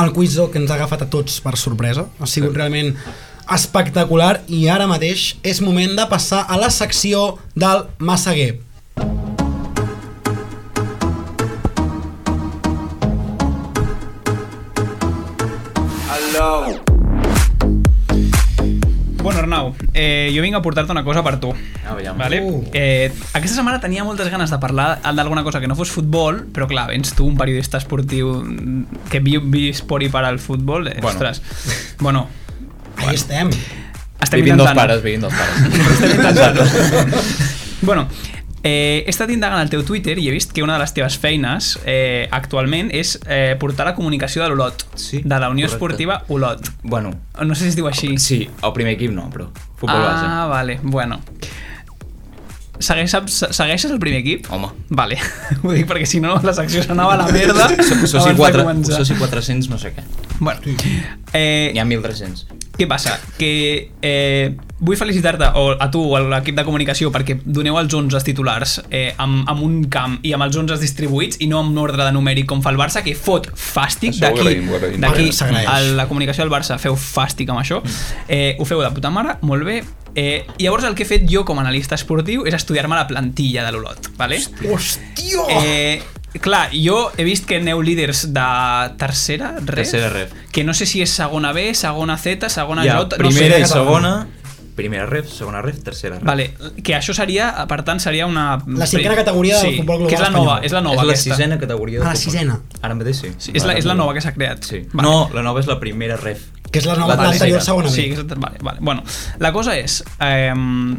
S5: el quiz que ens ha agafat a tots per sorpresa ha sigut realment espectacular i ara mateix és moment de passar a la secció del Massaguer
S9: Bueno, Arnau, eh, jo vinc a portar-te una cosa per tu.
S7: Ah, veiem.
S9: Vale?
S5: Uh.
S9: Eh, aquesta setmana tenia moltes ganes de parlar d'alguna cosa que no fos futbol, però clar, vens tu un periodista esportiu mm, que viu vi esport i para el futbol. Eh,
S7: Bueno.
S9: Ostres. Bueno,
S5: ahí estem
S9: estem
S7: vivint dos
S9: intentant. eh?
S7: pares, vivint dos pares.
S9: Estem intentant. bueno, eh, he estat indagant al teu Twitter i he vist que una de les teves feines eh, actualment és eh, portar la comunicació de l'Olot,
S7: Sí,
S9: de la Unió
S7: correcte.
S9: Esportiva Olot.
S7: bueno,
S9: No sé si es diu així.
S7: sí, el primer equip no, però futbol
S9: Ah, vale, bueno. Segueix, se- segueixes el primer equip?
S7: Home.
S9: Vale, ho dic perquè si no la secció s'anava a la merda
S7: base. Això sí,
S9: abans de
S7: quatre,
S9: començar.
S7: això sí 400, no sé què.
S9: Bueno, eh,
S7: N'hi ha 1.300.
S9: què passa? Que eh, vull felicitar-te o a tu o a l'equip de comunicació perquè doneu els 11 titulars eh, amb, amb un camp i amb els 11 distribuïts i no amb un ordre de numèric com fa el Barça que fot fàstic
S8: Això ho
S9: d'aquí
S8: agraïm, ho agraïm.
S9: d'aquí
S5: Ah, s'agraeix.
S9: a la comunicació del Barça feu fàstic amb això
S8: Mm.
S9: eh, ho feu de puta mare, molt bé eh, llavors el que he fet jo com a analista esportiu és estudiar-me la plantilla de l'Olot vale?
S5: hòstia
S9: Eh, clar, jo he vist que aneu líders de tercera ref,
S7: Tercera ref.
S9: que no sé si és segona B, segona Z, segona
S7: Hi ha
S9: J,
S7: primera
S9: no
S7: i
S9: sé.
S7: segona, primera ref, segona ref, tercera ref.
S9: Vale, que això seria, per tant, seria una...
S5: La cinquena categoria del
S9: sí,
S5: futbol global
S9: que és la
S5: espanyol.
S9: nova, és la nova
S7: és la
S9: aquesta.
S7: sisena categoria de
S5: Ah, la
S7: futbol.
S5: sisena.
S7: Ara mateix sí.
S9: Sí, és, la, és la nova que s'ha creat.
S7: Sí.
S9: Vale.
S7: No, la nova és la primera ref.
S5: que és la nova
S7: tercera.
S5: l'anterior segona B
S9: Sí, exacte, vale, vale. Bueno, la cosa és... Ehm,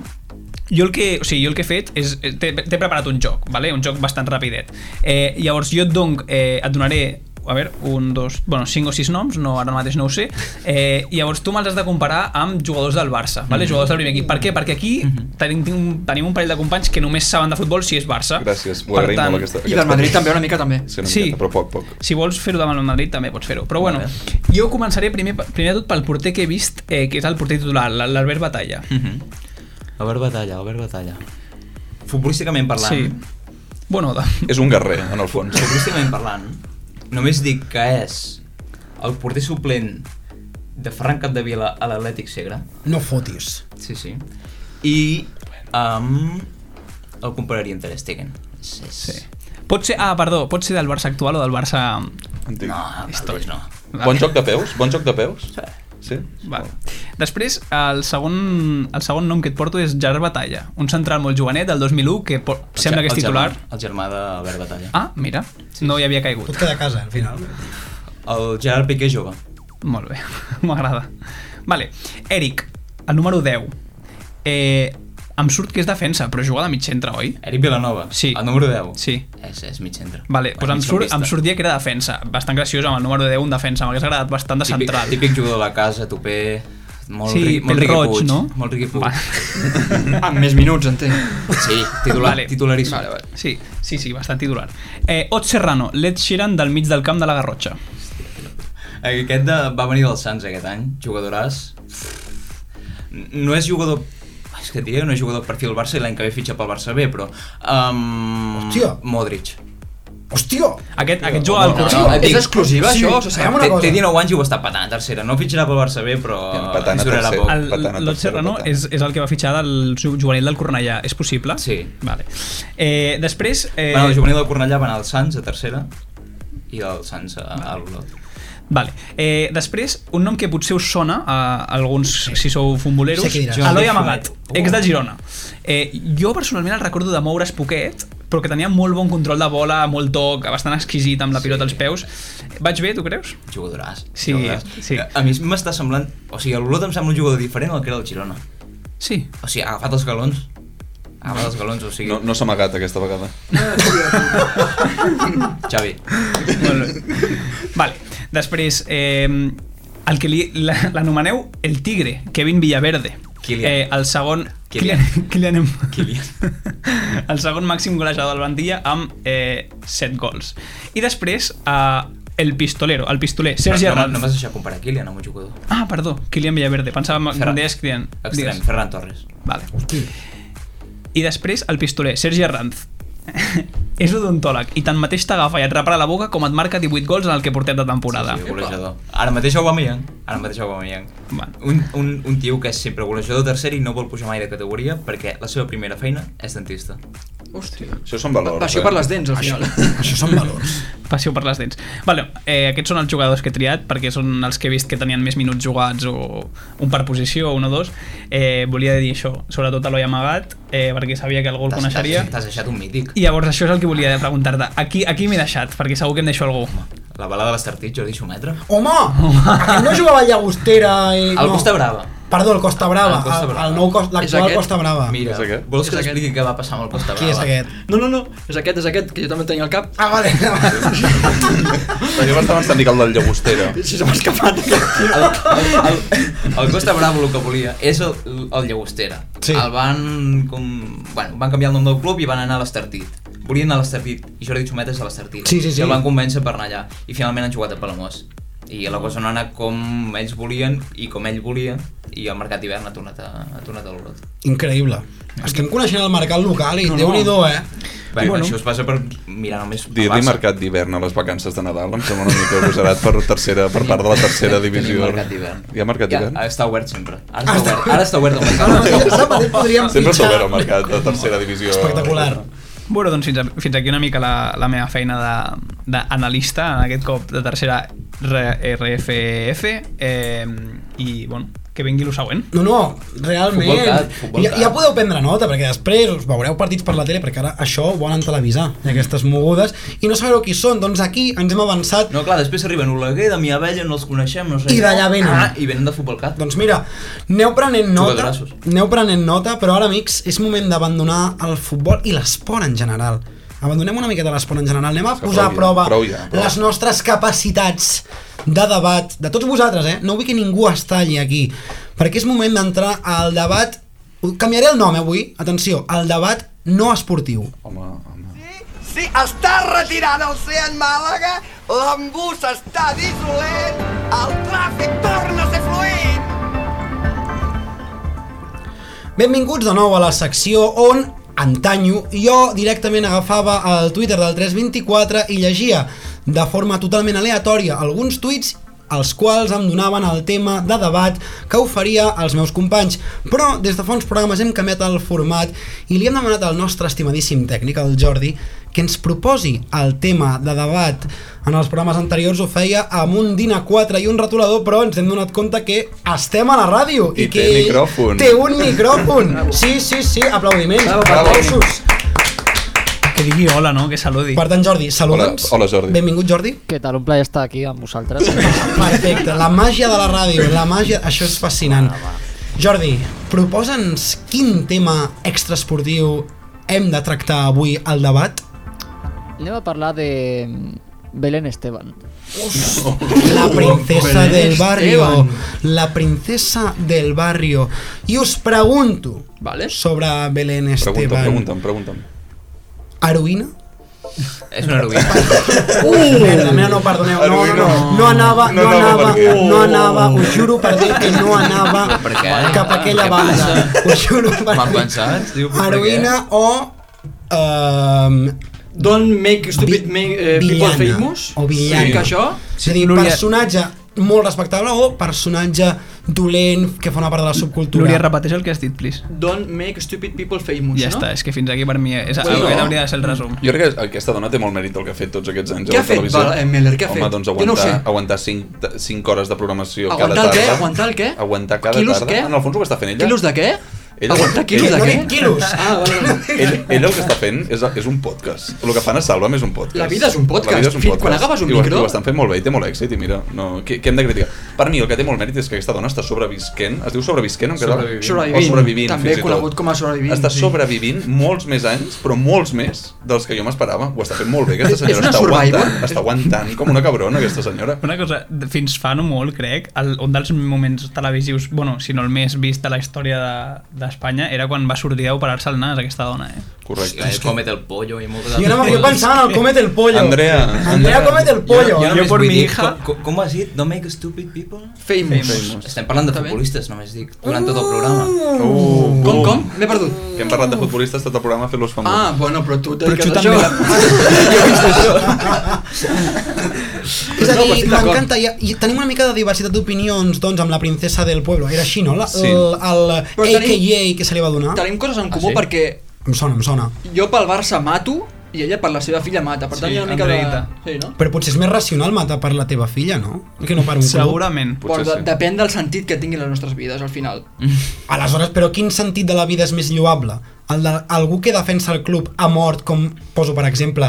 S9: jo el, que, o sigui, jo el que he fet és... T'he t'he preparat un joc, vale? un joc bastant rapidet. Eh, llavors jo et, donc, eh, et donaré a veure, un, dos, bueno, cinc o sis noms, no, ara mateix no ho sé, eh, i llavors tu me'ls has de comparar amb jugadors del Barça,
S8: Mm-hmm.
S9: vale? jugadors del primer equip. Per què? Perquè aquí tenim, tenim, tenim un parell de companys que només saben de futbol si és Barça.
S8: Gràcies, ho
S9: Per
S8: agraïm
S9: tant,
S8: molt aquesta...
S6: I del Madrid també, una mica també.
S8: Sí, una
S9: Sí.
S8: miqueta, però poc, poc.
S9: Si vols fer-ho davant el Madrid també pots fer-ho. Però bueno, jo començaré primer, primer de tot pel porter que he vist, eh, que és el porter titular, l'A- l'Albert Batalla.
S8: Mhm.
S7: Albert Batalla, Albert Batalla. Futbolísticament parlant,
S9: Sí.
S7: sí.
S9: Bueno, de...
S8: És un guerrer, en el fons.
S7: futbolísticament parlant, només dic que és el porter suplent de Ferran Capdevila a l'Atlètic Segre.
S5: No fotis.
S7: Sí, sí. I um, el compararia amb Ter Stegen. És, és... Sí.
S9: Pot ser, ah, perdó, pot ser del Barça actual o del Barça...
S8: Antic.
S7: No, Valdés no.
S8: Bon joc de peus? Bon joc de peus? Sí?
S9: Vale. Després, el segon, el segon nom que et porto és Gerard Batalla, un central molt jovenet del 2001 que po-
S7: El
S9: sembla
S7: ge-
S9: que és
S7: el
S9: titular.
S7: Germà, el germà d'Albert Batalla.
S9: Ah, mira, no hi havia caigut.
S5: Pot quedar a casa, al final.
S7: El Gerard Piqué jove.
S9: Molt bé, m'agrada. Vale, Eric, el número 10. Eh, em surt que és defensa, però juga de mig centre, oi?
S7: Eric Vilanova,
S9: Sí.
S7: el número 10.
S9: Sí.
S7: És, és mig centre.
S9: Vale, doncs em, surt, em sortia que era defensa. Bastant graciós amb el número 10, un defensa. M'hagués agradat bastant de
S7: típic,
S9: central.
S7: Típic jugador de la casa, topé, molt,
S9: Sí,
S7: ri, molt
S9: pèl
S7: Riqui
S9: roig,
S7: Puig,
S9: no?
S7: Molt Riqui Puig.
S9: Va.
S6: Amb més minuts, entenc.
S7: Sí, titular,
S9: Vale.
S7: vale. titularíssim.
S6: Vale, vale.
S9: Sí, sí, sí, bastant titular. Eh, Ot Serrano, l'Ed Sheeran del mig del camp de la Garrotxa.
S7: Aquest de, va venir del Sants aquest any, jugadoràs. No és jugador... És que diria, no és jugador per fi del Barça i l'any que ve fitxa pel Barça B, però... Um,
S5: Hòstia.
S7: Modric.
S5: Hòstia!
S9: Aquest, aquest juga al Corsi.
S5: no.
S7: et
S6: És exclusiva,
S5: Sí.
S6: això? Se sap?
S5: Una
S7: Té,
S5: cosa.
S7: té 19 anys i ho està patant a tercera. No fitxarà pel Barça B, però
S8: Patant a
S7: ens durarà
S8: tercera.
S7: poc.
S8: Al- Patana,
S9: L'Ot
S8: tercera
S9: Serrano
S8: patana.
S9: és, és el que va fitxar del ju- juvenil del Cornellà. És possible?
S7: Sí.
S9: Vale. Eh, després... Eh,
S7: Eh... Bueno, el juvenil del Cornellà va anar al Sants a tercera i del Sants a, a l'Olot.
S9: Vale. Eh, després, un nom que potser us sona a alguns, si sou futboleros,
S5: Sé què diràs.
S9: Eloi
S7: Jordi
S9: Amagat,
S7: Foret.
S9: ex
S5: Uh.
S9: de Girona. Eh, jo personalment el recordo de moure's poquet, però que tenia molt bon control de bola, molt toc, bastant exquisit amb la pilota als peus. Vaig bé, tu creus?
S7: Jugadoràs.
S9: Sí,
S7: jugadoràs.
S9: sí.
S7: A mi m'està semblant... O sigui, l'Olot em sembla un jugador diferent al que era el Girona.
S9: Sí.
S7: O sigui, ha agafat els galons. Ha agafat els galons, o sigui...
S8: No, no s'ha amagat aquesta vegada.
S7: Xavi.
S9: Molt bé. Vale. Després, eh, el que li- la- l'anomeneu el Tigre, Kevin Villaverde.
S7: Kylian.
S9: Eh, el segon...
S7: Kylian.
S9: Kylian.
S7: Kylian.
S9: El segon màxim golejador del Bandia amb eh, 7 gols. I després, eh, el pistolero, el pistoler, Sergi
S7: no, no,
S9: Herranz.
S7: no m'has deixat comparar Kilian amb un jugador.
S9: Ah, perdó, Kylian Villaverde. Pensava que
S7: Ferran.
S9: em deies Kylian.
S7: Extrem,
S9: Digues.
S7: Ferran Torres.
S9: Vale. I després, el pistoler, Sergi Herranz. és odontòleg i tanmateix t'agafa i et repara la boca com et marca 18 gols en el que portem de temporada.
S7: Sí, golejador. Ara mateix Aubameyang. Ara mateix Aubameyang.
S9: Bueno.
S7: Un, un, un tio que és sempre golejador tercer i no vol pujar mai de categoria perquè la seva primera feina és dentista.
S6: Hòstia.
S8: Això són valors.
S6: Passió
S8: eh?
S6: per les dents, al final.
S5: Això són valors.
S9: Passió per les dents. Vale, eh, aquests són els jugadors que he triat perquè són els que he vist que tenien més minuts jugats o un per posició, un o dos. Eh, volia dir això, sobretot Eloi Amagat, eh, perquè sabia que algú el
S7: T'has- t'has-
S9: coneixeria.
S7: T'has deixat un mític.
S9: I llavors això és el que volia preguntar-te. Aquí, aquí m'he deixat, perquè segur que em deixo algú.
S7: La balada de l'Estartit, Jordi Xumetra.
S5: Home! Aquest no jugava al Llagostera i...
S7: El
S5: no.
S7: Costa Brava.
S5: Perdó, el Costa Brava.
S7: El Costa
S5: El,
S7: Brava.
S5: el nou cos,
S6: És
S5: l'actual
S6: aquest?
S5: Costa Brava.
S7: Mira,
S8: És aquest?
S7: vols que
S6: És aquest?
S7: t'expliqui què va passar amb el Costa Brava?
S5: Qui és aquest?
S6: No, no, no. És aquest, és aquest, que jo també el tenia al cap.
S5: Ah, vale.
S8: Jo m'estava entenent que el del Llagostera.
S6: Si se m'ha escapat.
S7: El, el, el, el Costa Bravo el que volia és el, el Llagostera.
S5: Sí.
S7: El van, com, bueno, van canviar el nom del club i van anar a l'Estartit. Volien anar a l'Estartit i Jordi Xumetes a l'Estartit.
S5: Sí, sí, sí.
S7: I el van convèncer per anar allà. I finalment han jugat a Palamós. I la cosa no ha anat com ells volien i com ell volia i el mercat d'hivern ha tornat a, ha tornat a l'Olot.
S5: Increïble. Estem coneixent el mercat local i no, Déu-n'hi-do, eh?
S7: Bé,
S9: Bueno.
S7: bueno. això us passa per mirar només a
S8: Dir-li
S7: Barça.
S8: mercat d'hivern a les vacances de Nadal em sembla una mica agosarat per, tercera, per part de la tercera
S7: Tenim
S8: divisió.
S7: mercat d'hivern.
S8: Hi ha mercat d'hivern?
S7: Ja, està obert sempre.
S5: Ah,
S7: Ara està obert, ara està obert el mercat.
S5: Ara mateix podríem
S8: Sempre està
S5: fitxar-
S8: obert el mercat de tercera divisió.
S5: Espectacular.
S9: Bueno, doncs fins, a, fins aquí una mica la, la meva feina de- d'analista, en aquest cop de tercera R- RFF, eh, i bueno, que vingui el següent.
S5: No, no, realment.
S7: Futbol cat, futbol
S5: ja,
S7: cat.
S5: ja podeu prendre nota, perquè després us veureu partits per la tele, perquè ara això ho volen televisar, i aquestes mogudes, i no sabreu qui són, doncs aquí ens hem avançat.
S7: No, clar, després arriben Oleguer, Damià Vella, no els coneixem, no sé.
S5: I d'allà venen.
S7: Ah, i venen de Futbol Cat.
S5: Doncs mira, aneu prenent nota,
S7: Jugadoraços.
S5: aneu prenent nota, però ara, amics, és moment d'abandonar el futbol i l'esport en general. abandonem una miqueta l'esport en general, anem a
S8: que
S5: posar a
S8: prou ja,
S5: prova
S8: prou ja, prou.
S5: les nostres capacitats de debat, de tots vosaltres, eh? No vull que ningú es talli aquí, perquè és moment d'entrar al debat... Canviaré el nom eh, avui, atenció, al debat no esportiu.
S8: Home, home.
S11: Sí, està retirant el Seat Màlaga, l'embús està dissolent, el tràfic torna a ser fluid.
S5: Benvinguts de nou a la secció on antanyo jo directament agafava el Twitter del 324 i llegia de forma totalment aleatòria alguns tuits els quals em donaven el tema de debat que oferia als meus companys. Però des de fa uns programes hem canviat el format i li hem demanat al nostre estimadíssim tècnic, el Jordi, que ens proposi el tema de debat. En els programes anteriors ho feia amb un dinar 4 i un retolador, però ens hem donat compte que estem a la ràdio i,
S8: I té
S5: que ell
S8: micròfon.
S5: té un micròfon. Sí, sí, sí, aplaudiments.
S6: Bravo,
S5: Bravo.
S8: bravo.
S5: Aplausos.
S9: Que digui hola, no? Que saludi.
S5: Per tant, Jordi, saluda'ns.
S8: Hola- hola, Jordi.
S5: Benvingut, Jordi.
S12: Què tal? Un plaer estar aquí amb vosaltres.
S5: Perfecte, la màgia de la ràdio, la màgia... Això és fascinant. Jordi, proposa'ns quin tema extraesportiu hem de tractar avui al debat?
S12: Anem a parlar de Belén Esteban.
S5: La princesa
S6: Belén
S5: del barrio.
S6: Esteban.
S5: La princesa del barrio. I us pregunto
S6: Vale.
S5: sobre Belén
S8: Pregunta'm,
S5: Esteban.
S8: pregunta'm, pregunta'm.
S5: Heroïna?
S7: És una heroïna.
S5: Merda, mira, no, perdoneu, no, no, no, no anava, no anava, no anava, ho juro per dir que no anava
S7: Per què?
S5: cap a aquella
S7: Què
S5: banda,
S7: passa?
S5: ho juro per
S7: Mal
S5: dir.
S7: pensat? Diu, però per què?
S5: Heroïna o... ehm,
S6: Don't make stupid
S5: vi-
S6: make, eh, people
S5: villana,
S6: famous.
S5: O villana.
S6: Que això...
S5: És a dir,
S9: Núria-
S5: personatge molt respectable o personatge dolent que forma part de la subcultura.
S9: Núria, repeteix el que has dit, please.
S6: Don't make stupid people famous,
S9: Ja
S6: no?
S9: està, és que fins aquí per mi és...
S6: Bueno.
S9: Aquest hauria de ser el resum.
S8: Jo crec que aquesta dona té molt mèrit el que ha fet tots aquests anys
S6: Què
S8: a la
S6: ha fet,
S8: televisió.
S6: Val- eh, Miller, què ha fet?
S8: Home, doncs
S6: Jo no ho
S8: aguantar,
S6: sé.
S8: aguantar 5, 5 hores de programació
S6: Aguantar
S8: cada
S6: el què?
S8: tarda.
S6: Aguantar el què?
S8: Aguantar cada
S6: Quilos
S8: tarda.
S6: què?
S8: En el fons el que està fent ella...
S6: Quilos de què?
S8: Ella-
S6: Aguantar quilos de
S8: ella-
S5: no
S6: què?
S5: dic quilos.
S6: Ah, vale, vale.
S8: Ell, ell el que està fent és, és un podcast. El que fan a Salva és un podcast.
S6: La vida és un podcast.
S8: La vida és un
S6: Fins
S8: podcast.
S6: quan agafes un
S8: I ho,
S6: micro.
S8: I ho estan fent molt bé i té molt èxit. I mira, no, què, què hem de criticar? Per mi, el que té molt mèrit és que aquesta dona està sobrevisquent. Es diu sobrevisquent en català?
S7: Sobrevivint.
S6: Sobrevivint.
S8: O sobrevivint,
S6: També
S8: fins i tot.
S6: conegut com a sobrevivint,
S8: Està
S6: sí.
S8: sobrevivint molts més anys, però molts més dels que jo m'esperava. Ho està fent molt bé, aquesta
S6: És- és
S8: senyora.
S6: una
S8: està
S6: survivor?
S8: aguantant, està aguantant com una cabrona, aquesta senyora.
S9: Una cosa, de- fins fa no molt, crec, el, un dels moments televisius, bueno, si no el més vist de la història de- d'Espanya, de, era quan va sortir a operar-se el nas aquesta dona, eh?
S8: Correcte.
S7: Sí, Comet el pollo i moltes
S5: Jo, anava, jo pensava en el Comet el Pollo.
S8: Andrea,
S5: Andrea Comet el Pollo.
S7: Jo, jo,
S9: només
S7: jo per mi
S9: vull dir,
S7: hija...
S9: com-
S7: Com, com has dit? Don't make stupid people?
S6: Famous.
S7: Estem parlant de
S6: Està bé.
S7: futbolistes, només dic, durant tot el programa.
S8: Uh,
S6: Com, com? M'he perdut.
S8: Que hem parlat de futbolistes tot el programa fent-los famosos.
S6: Ah, bueno, però tu et dediques a
S9: tu
S6: això.
S9: també
S5: És a
S6: No, però
S5: dir,
S6: estic d'acord.
S5: m'encanta, i, i tenim una mica de diversitat d'opinions doncs, amb la princesa del pueblo, era així, no? La,
S8: Sí.
S5: El, el
S6: Però
S5: AKA
S6: tenim-
S5: que se li va donar.
S6: Tenim coses en comú
S7: sí?
S6: perquè
S5: Em sona, em sona.
S6: jo pel Barça mato i ella per la seva filla mata. Per tant,
S9: Sí,
S6: hi ha una mica de...
S9: Andreita.
S6: Sí, no?
S5: Però potser és més racional matar per la teva filla, no? Que no per un club.
S9: Segurament.
S8: Potser
S6: Però de,
S8: sí.
S6: depèn del sentit que tinguin les nostres vides, al final.
S5: Aleshores, però quin sentit de la vida és més lloable? El de, algú que defensa el club a mort, com poso per exemple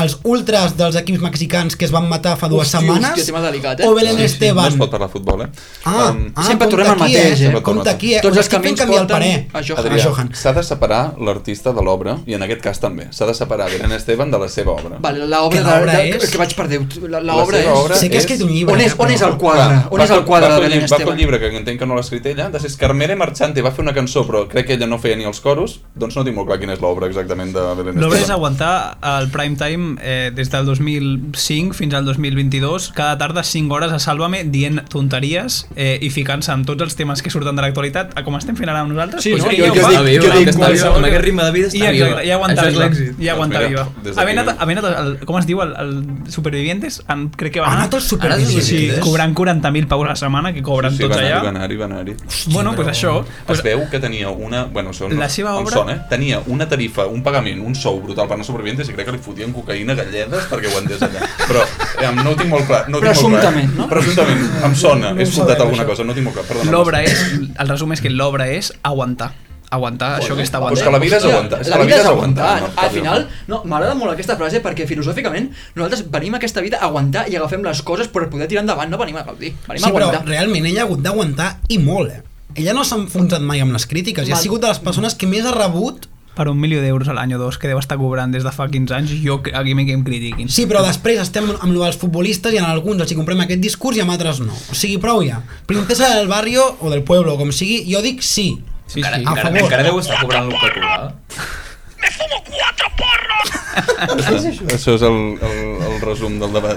S5: els ultras dels equips mexicans que es van matar fa dues
S6: Hòstia,
S5: setmanes?
S6: hòstia, tema delicat, eh?
S5: O Belén
S8: Sí, sí,
S5: Esteban?
S8: No es pot parlar de futbol, eh?
S5: Ah,
S8: Em,
S5: ah,
S6: Sempre
S5: compte
S6: tornem al
S5: aquí,
S6: mateix, eh?
S5: Eh? Compte aquí, eh?
S6: Tots
S5: Us
S6: els
S5: estic fent
S6: camins
S5: canviar el
S6: porten
S5: parer.
S6: a Ah, Johan.
S5: A
S8: Adrià,
S5: Johan.
S8: s'ha de separar l'artista de l'obra, i en aquest cas també, s'ha de separar Belén Esteban de la seva obra.
S6: Vale, la obra,
S5: Que
S6: de,
S5: l'obra
S6: de,
S5: és-
S6: que vaig per Déu, la, la
S8: La
S6: obra
S8: seva
S6: és...
S8: obra
S5: Sé que ha
S8: és-
S5: escrit un llibre.
S6: On és,
S5: eh,
S6: on
S5: però-
S6: és el quadre? on
S8: va
S6: és el
S8: fer-
S6: quadre
S8: va
S6: de
S8: fer un
S6: Belén
S8: llibre- Va fer
S6: Esteban?
S8: un llibre que entenc que no l'ha escrit ella, de Scarmere Marchante, va fer una cançó, però crec que ella no feia ni els coros, doncs no tinc molt clar quina és l'obra exactament de Belén Esteban.
S9: L'obra és aguantar el prime time eh, des del 2005 fins al 2022, cada tarda 5 hores a Sálvame dient tonteries eh, i ficant-se amb tots els temes que surten de l'actualitat, a com estem fent ara nosaltres.
S6: Sí,
S9: doncs
S6: no?
S9: crec
S6: Jo-
S9: que
S6: jo
S9: ho
S7: dic- jo
S9: fa. Amb
S7: dic
S9: aquest
S7: qualsevol-
S9: ritme-
S7: amb aquest ritme de vida està
S9: I, exacte,
S7: viva.
S9: I aguantar
S7: Això és
S9: viva.
S7: l'èxit.
S9: I aguantar
S8: Doncs mira,
S9: viva.
S8: des d'aquí-
S9: Ha anat, ha anat el, com es diu, el, el Supervivientes, en, crec que va
S5: Ha
S9: anar...
S5: anat el
S7: Ara és
S5: superviviente.
S9: Sí,
S7: Supervivientes?
S9: cobrant 40.000 paus a la setmana, que cobren
S8: Sí, sí,
S9: tots
S8: va anar-hi, va
S9: allà.
S8: anar-hi, va anar-hi.
S9: Bueno, doncs això.
S8: Es
S9: Pues,
S8: veu que tenia una... Bueno, això no,
S9: La seva
S8: em
S9: obra-
S8: sona, eh? Tenia una tarifa, un pagament, un sou brutal per anar supervivientes i crec que li fotien cocaïna, galledes, perquè ho entès allà. Però eh, no ho tinc molt clar. No ho tinc
S6: Presumptament,
S8: molt
S6: no?
S8: clar. Presumptament, em sona.
S5: No
S8: He
S5: ho
S8: escoltat
S5: sabem,
S8: alguna
S5: això.
S8: cosa, no ho tinc molt clar. Perdona.
S9: l'obra és... El resum és que l'obra és aguantar. Aguantar, això que està
S8: Però és
S9: aguantant.
S8: que la vida és
S6: Hòstia,
S8: aguantar. És que
S6: la vida és
S8: aguantar,
S6: aguantar.
S8: no?
S6: Al final, no, m'agrada molt aquesta frase perquè filosòficament nosaltres venim a aquesta vida a aguantar i agafem les coses per poder tirar endavant, no venim a gaudir, venim
S5: Sí,
S6: a
S5: però
S6: aguantar.
S5: realment ella ha hagut d'aguantar i molt, eh? Ella no s'ha enfonsat mai amb les crítiques i ha
S6: Mal.
S5: sigut de les persones que més ha rebut
S9: per un milió d'euros a l'any o dos que deu estar cobrant des de fa 15 anys, jo que- aquí m'hi que em critiquin.
S5: Sí, però després estem amb lo dels futbolistes i en alguns els hi comprem aquest discurs i en altres no. O sigui, prou ja. Princesa del barrio o del pueblo, com sigui, jo dic sí.
S7: Sí, sí.
S5: A
S7: Encara,
S5: favor.
S7: encara deu estar cobrant el que cobrava.
S8: Això és el, el, el resum del debat.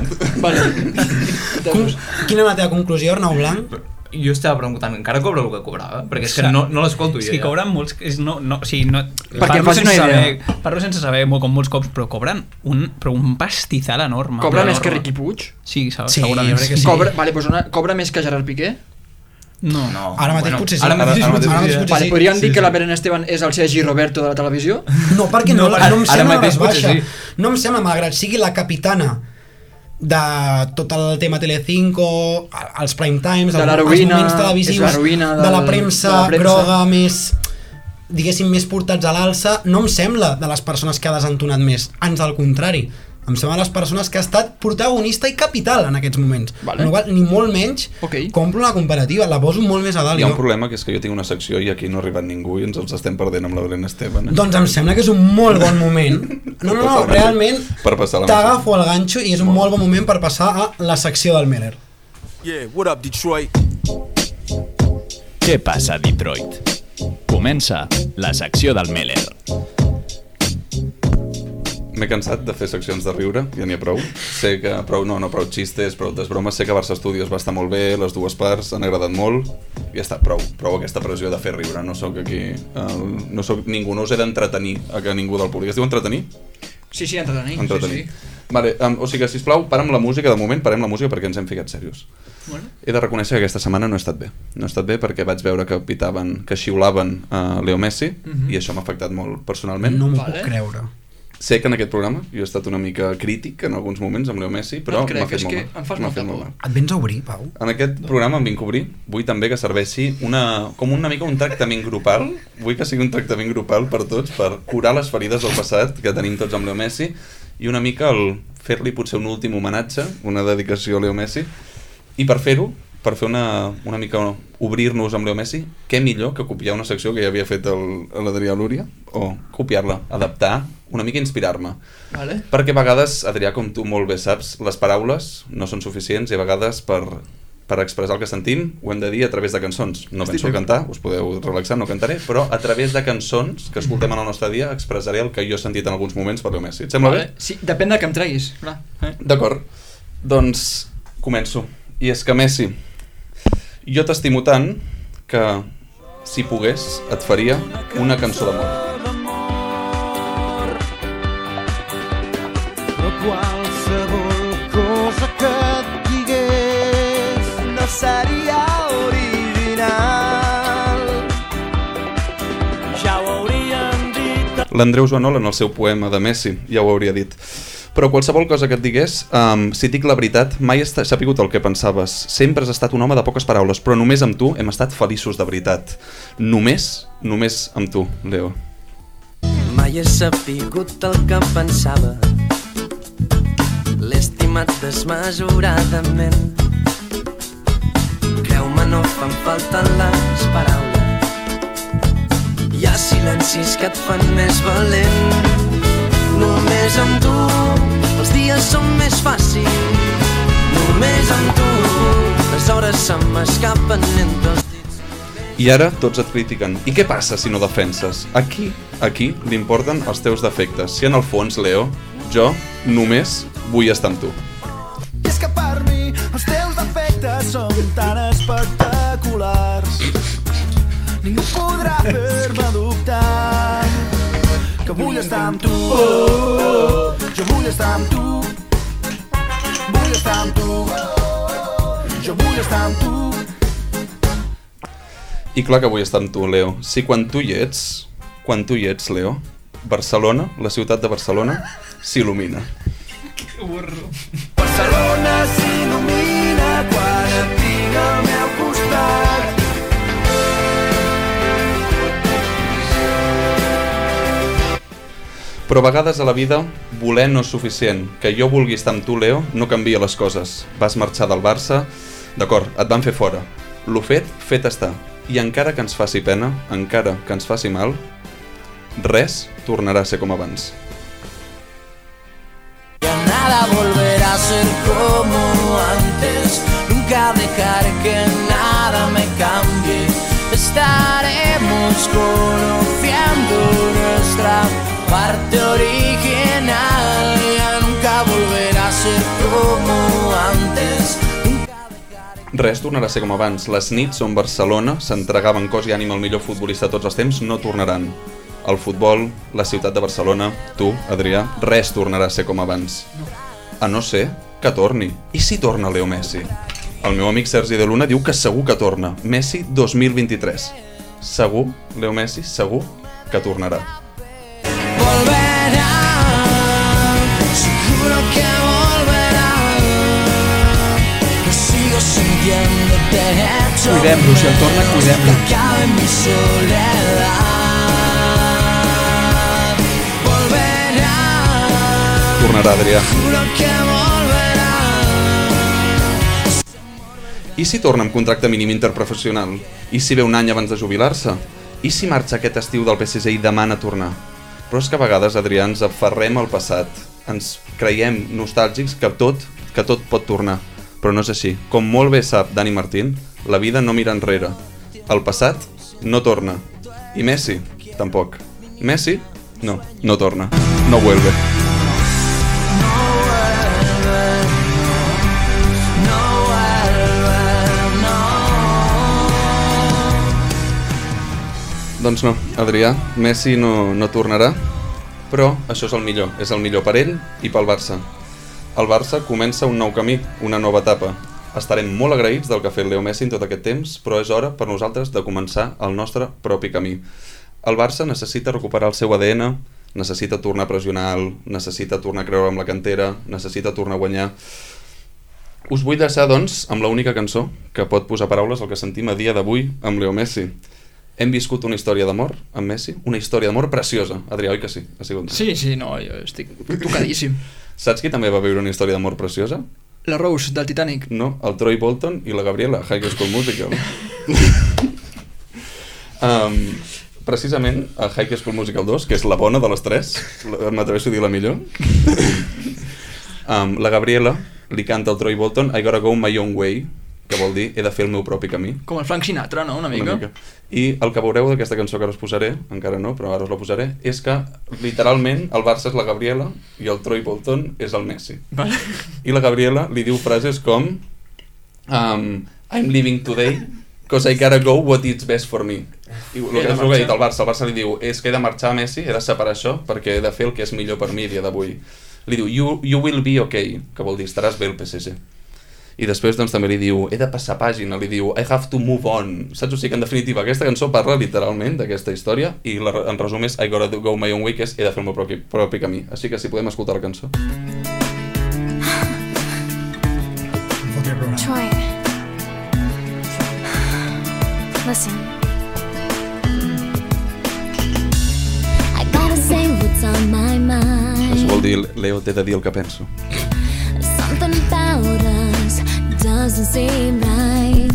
S6: Doncs-
S5: Quina és la teva conclusió, Arnau Blanc?
S7: Jo estava preguntant, encara cobra el que cobrava? Perquè és que no, no l'escolto jo.
S9: És que
S7: ja.
S9: cobren molts... És, no, no, o sigui, no,
S7: Perquè
S9: parlo
S7: fas una
S9: sense
S7: idea.
S9: Saber, parlo sense saber molt com molts cops, però cobren un, però un pastizal enorme.
S6: Cobra
S9: Però
S6: més que
S9: enorme.
S6: Riqui Puig?
S9: Sí, se- segurament. crec que sí.
S6: Cobra, vale, doncs una, cobra més que Gerard Piqué?
S9: No.
S7: no.
S5: Ara mateix potser sí.
S9: eh?
S6: Vale, podríem dir que la Belén Esteban és el Sergi Roberto de la televisió?
S5: No, perquè no, no,
S6: ara-
S5: no em
S6: ara
S5: sembla
S6: mateix
S5: res baixa.
S6: potser sí.
S5: No em sembla, malgrat sigui la capitana de tot el tema Telecinco, els prime times,
S6: De
S5: el-
S6: l'heroïna,
S5: els moments
S6: és
S5: televisius,
S6: l'heroïna
S5: de la
S6: del-
S5: premsa,
S6: de la premsa.
S5: groga més diguéssim més portats a l'alça, no em sembla de les persones que ha desentonat més, ans al contrari. Em sembla de les persones que ha estat protagonista i capital en aquests moments. Vale. No val ni molt menys okay. compro la comparativa, la poso molt més a dalt.
S8: Hi ha un
S5: Ah, jo.
S8: problema que és que jo tinc una secció i aquí no ha arribat ningú i ens els estem perdent amb la Belén Esteban. Eh?
S5: Doncs em sembla que és un molt bon moment. No, no, no, realment
S8: Per passar la màgia.
S5: t'agafo el ganxo i és un molt bon moment per passar a la secció del Miller.
S13: Yeah, what up, Detroit?
S4: Què passa a Detroit? Comença la secció del Meller.
S8: M'he cansat de fer seccions de riure, ja n'hi ha prou. Sé que prou, no, no, prou xistes, prou altes bromes. Sé que Barça Studios va estar molt bé, les dues parts, han agradat molt. I ja està, prou, prou aquesta pressió de fer riure. No sóc aquí, el, no sóc ningú, no us he d'entretenir, a que ningú del públic. Es diu entretenir?
S6: Sí, sí, entretenir.
S8: entretenir. Sí, sí. Vale, um, o sigui que, sisplau, parem la música, de moment parem la música perquè ens hem ficat serios.
S6: Bueno.
S8: He de reconèixer que aquesta setmana no he estat bé. No he estat bé perquè vaig veure que pitaven, que xiulaven a Leo Messi
S5: Mhm.
S8: i això m'ha afectat molt personalment.
S5: No m'ho Vale. puc creure.
S8: Sé que en aquest programa jo he estat una mica crític en alguns moments amb Leo Messi, però
S6: No
S8: m'ha
S6: et crec,
S8: fet
S6: és
S8: molt
S6: que
S8: mal.
S6: em fas
S8: M'ha
S6: molta
S8: fet molt
S6: por.
S8: mal.
S5: Et vens a obrir, Pau?
S8: En aquest programa em vinc a obrir, vull també que serveixi una, com una mica un tractament grupal, vull que sigui un tractament grupal per tots, per curar les ferides del passat que tenim tots amb Leo Messi, i una mica el fer-li potser un últim homenatge, una dedicació a Leo Messi, i per fer-ho, per fer una, una mica obrir-nos amb Leo Messi, què millor que copiar una secció que ja havia fet el- l'Adrià Lúria, o copiar-la, adaptar, una mica inspirar-me.
S6: Vale.
S8: Perquè a vegades, Adrià, com tu molt bé saps, les paraules no són suficients i a vegades per, per expressar el que sentim ho hem de dir a través de cançons. No
S14: Estic
S8: penso
S14: d'acord.
S8: cantar, us podeu relaxar, no cantaré, però a través de cançons que escoltem en el nostre dia expressaré el que jo he sentit en alguns moments per Leo Messi. Et sembla
S6: Vale.
S8: bé?
S6: Sí, depèn del que em treguis, clar. Eh?
S8: D'acord. Doncs començo. I és que Messi, jo t'estimo tant que si pogués et faria una cançó d'amor.
S14: però qualsevol cosa que et digués no seria original. Ja ho hauríem dit
S8: L'Andreu Joanola en el seu poema de Messi ja ho hauria dit. Però qualsevol cosa que et digués, um, si et dic la veritat, mai he esta- sabut el que pensaves. Sempre has estat un home de poques paraules, però només amb tu hem estat feliços de veritat. Només, només amb tu, Leo.
S15: Mai he sabut el que pensava L'he estimat desmesuradament Creu-me, no fan falta les paraules Hi ha silencis que et fan més valent Només amb tu els dies són més fàcils Només amb tu les hores se m'escapen entre els
S8: I ara tots et critiquen. I què passa si no defenses? Aquí, aquí, li importen els teus defectes. Si en el fons, Leo, jo només vull estar amb tu.
S14: I és que per mi els teus defectes són tan espectaculars Ningú podrà fer-me dubtar Que vull estar amb tu Jo vull estar amb tu Vull estar amb tu Jo vull estar amb tu
S8: I clar que vull estar amb tu, Leo. Si quan tu hi ets, quan tu hi ets, Leo, Barcelona, la ciutat de Barcelona, s'il·lumina.
S14: Barcelona s'il·lumina quan et tinc al meu costat.
S8: Però a vegades a la vida voler no és suficient. Que jo vulgui estar amb tu, Leo, no canvia les coses. Vas marxar del Barça, d'acord, et van fer fora. L'ho fet, fet està. I encara que ens faci pena, encara que ens faci mal, Res tornarà a ser com abans.
S15: Nada volverá a ser como antes. Nunca dejaré que nada me cambie. Estaremos conociendo nuestra parte original. Ya nunca volverá a ser como antes.
S8: Res tornarà a ser com abans. Les nits on Barcelona s'entregaven cos i ànima al millor futbolista de tots els temps no tornaran. El futbol, la ciutat de Barcelona, tu, Adrià, res tornarà a ser com abans. A no ser que torni. I si torna Leo Messi? El meu amic Sergi de Luna diu que segur que torna. Messi 2023. Segur, Leo Messi, segur que tornarà.
S15: Seguro que volverá. Yo sigo sintiéndote hecho.
S16: Cuidem-lo, si el torna, cuidem-lo.
S15: Cabe en mi soledad. Volverá.
S8: Tornarà, Adrià.
S15: Juro que volverá.
S8: I si torna amb contracte mínim interprofessional? I si ve un any abans de jubilar-se? I si marxa aquest estiu del PSG i demana tornar? Però és que a vegades, Adrià, ens aferrem al passat. Ens creiem nostàlgics que tot, que tot pot tornar. Però no és així. Com molt bé sap Dani Martín, la vida no mira enrere. El passat no torna. I Messi, tampoc. Messi, no, no torna. No vuelve. Doncs no, Adrià, Messi no, no tornarà, però això és el millor, és el millor per ell i pel Barça. El Barça comença un nou camí, una nova etapa. Estarem molt agraïts del que ha fet Leo Messi en tot aquest temps, però és hora per nosaltres de començar el nostre propi camí. El Barça necessita recuperar el seu ADN, necessita tornar a pressionar alt, necessita tornar a creure amb la cantera, necessita tornar a guanyar. Us vull deixar, doncs, amb l'única cançó que pot posar paraules al que sentim a dia d'avui amb Leo Messi. Hem viscut una història d'amor amb Messi, una història d'amor preciosa. Adrià, oi que sí? Ha sigut.
S6: Sí, sí, no, jo estic tocadíssim.
S8: Saps qui també va viure una història d'amor preciosa?
S6: La Rose, del Titanic.
S8: No, el Troy Bolton i la Gabriela, High School Musical. um, precisament, a High School Musical 2, que és la bona de les tres, la- m'atreveixo a dir la millor, um, la Gabriela li canta al Troy Bolton I gotta go my own way, que vol dir he de fer el meu propi camí.
S6: Com el Frank Sinatra, no? Una mica.
S8: Una mica. I el que veureu d'aquesta cançó que ara us posaré, encara no, però ara us la posaré, és que literalment el Barça és la Gabriela i el Troy Bolton és el Messi.
S6: Vale.
S8: I la Gabriela li diu frases com um, I'm leaving today because I gotta go what is best for me. I el
S16: He de
S8: que és el que ha
S16: marxar.
S8: dit el Barça, el Barça li diu és que he de marxar Messi, he de separar això perquè he de fer el que és millor per mi a dia d'avui. Li diu you, you will be okay, que vol dir estaràs bé el PSG. I després doncs, també li diu, he de passar pàgina, li diu, I have to move on. Saps? O sigui que en definitiva aquesta cançó parla literalment d'aquesta història i la, en resum és I gotta do- go my own way, que és he de fer el meu propi, propi camí. Així que si podem escoltar la cançó.
S17: Troy. Listen. I gotta say what's on my
S8: Això vol
S17: mind.
S8: dir, Leo, t'he de dir el que penso.
S17: Something about us doesn't seem right.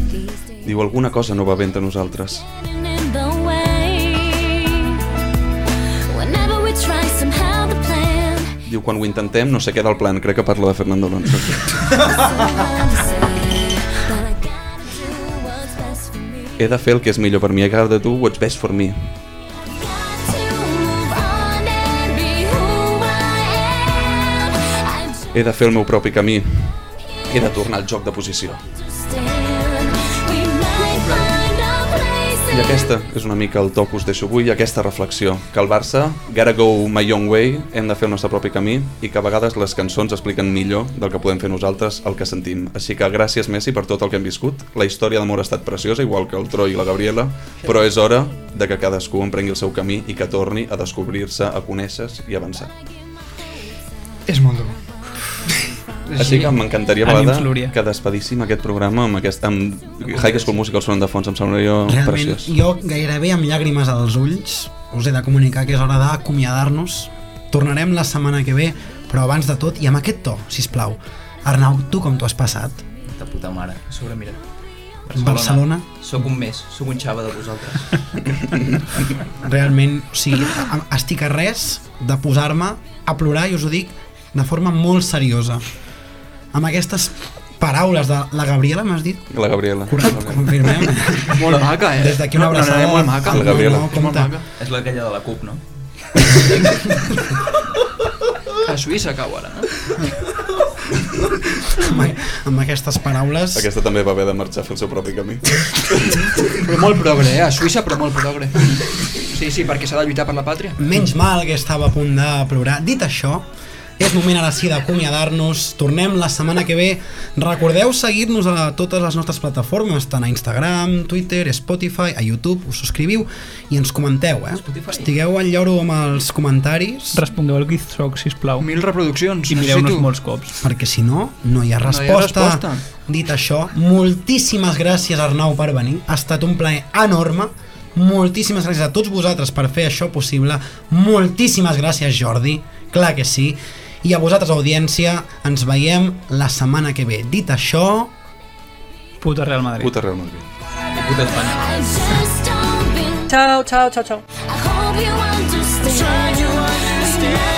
S8: Diu, alguna cosa no va bé entre nosaltres.
S17: Getting in the way. Whenever we try, somehow the plan
S8: Diu, quan ho intentem no sé què del plan, crec que parla de Fernando Alonso. he de fer el que és millor per mi, I gotta do what's best for me. He de fer el meu propi camí. He de tornar al joc de posició. I aquesta és una mica el toc que us deixo avui, aquesta reflexió, que el Barça, gotta go my own way, hem de fer el nostre propi camí i que a vegades les cançons expliquen millor del que podem fer nosaltres el que sentim. Així que gràcies Messi per tot el que hem viscut, la història d'amor ha estat preciosa, igual que el Troy i la Gabriela, però és hora de que cadascú emprengui el seu camí i que torni a descobrir-se, a conèixer-se i avançar.
S6: És molt dur.
S8: Així que m'encantaria
S9: Ànims,
S8: Balada, que despedíssim aquest programa amb, aquest, amb High School Musical sonant de fons, em sembla jo
S5: Realment,
S8: preciós.
S5: jo gairebé amb llàgrimes als ulls us he de comunicar que és hora d'acomiadar-nos. Tornarem la setmana que ve, però abans de tot, i amb aquest to, si plau. Arnau, tu com t'ho has passat?
S7: De puta mare, a sobre mira.
S5: Barcelona.
S7: Sóc un més, sóc un xava de vosaltres.
S5: Realment, o sigui, a- estic a res de posar-me a plorar i us ho dic de forma molt seriosa. Amb aquestes paraules de la Gabriela, m'has dit?
S8: La Gabriela.
S5: Confirmem.
S7: Molt maca, eh?
S5: Des d'aquí una
S7: No, no, no,
S5: abraçada.
S7: no, molt maca.
S5: No,
S7: La Gabriela.
S5: no, compte.
S7: És l'aquella de la CUP, no?
S6: A Suïssa cau ara, eh? no?
S5: Amb, amb aquestes paraules...
S8: Aquesta també va haver de marxar a fer el seu propi camí.
S6: Però molt progre, eh? A Suïssa, però molt progre. Sí, sí, perquè s'ha de lluitar per la pàtria.
S5: Menys mal que estava a punt de plorar. Dit això, és moment ara sí d'acomiadar-nos. Tornem la setmana que ve. Recordeu seguir-nos a totes les nostres plataformes, tant a Instagram, Twitter, Spotify, a YouTube. Us subscriviu i ens comenteu, eh? Estigueu al lloro amb els comentaris.
S9: Respondeu al Gizrock, sisplau.
S6: Mil reproduccions,
S9: Mm. I mireu-nos
S5: necessito.
S9: molts cops.
S5: Perquè si no, no hi ha
S9: No hi ha
S5: resposta.
S9: resposta.
S5: Dit això, moltíssimes gràcies Arnau per venir. Ha estat un plaer enorme. Moltíssimes gràcies a tots vosaltres per fer això possible. Moltíssimes gràcies Jordi, clar que sí. I a vosaltres, audiència, ens veiem la setmana que ve. Dit això...
S9: Puta Real Madrid.
S8: Puta Real Madrid.
S7: Puta Espanya.
S16: Chao, chao, chao, chao.
S17: I hope you understand.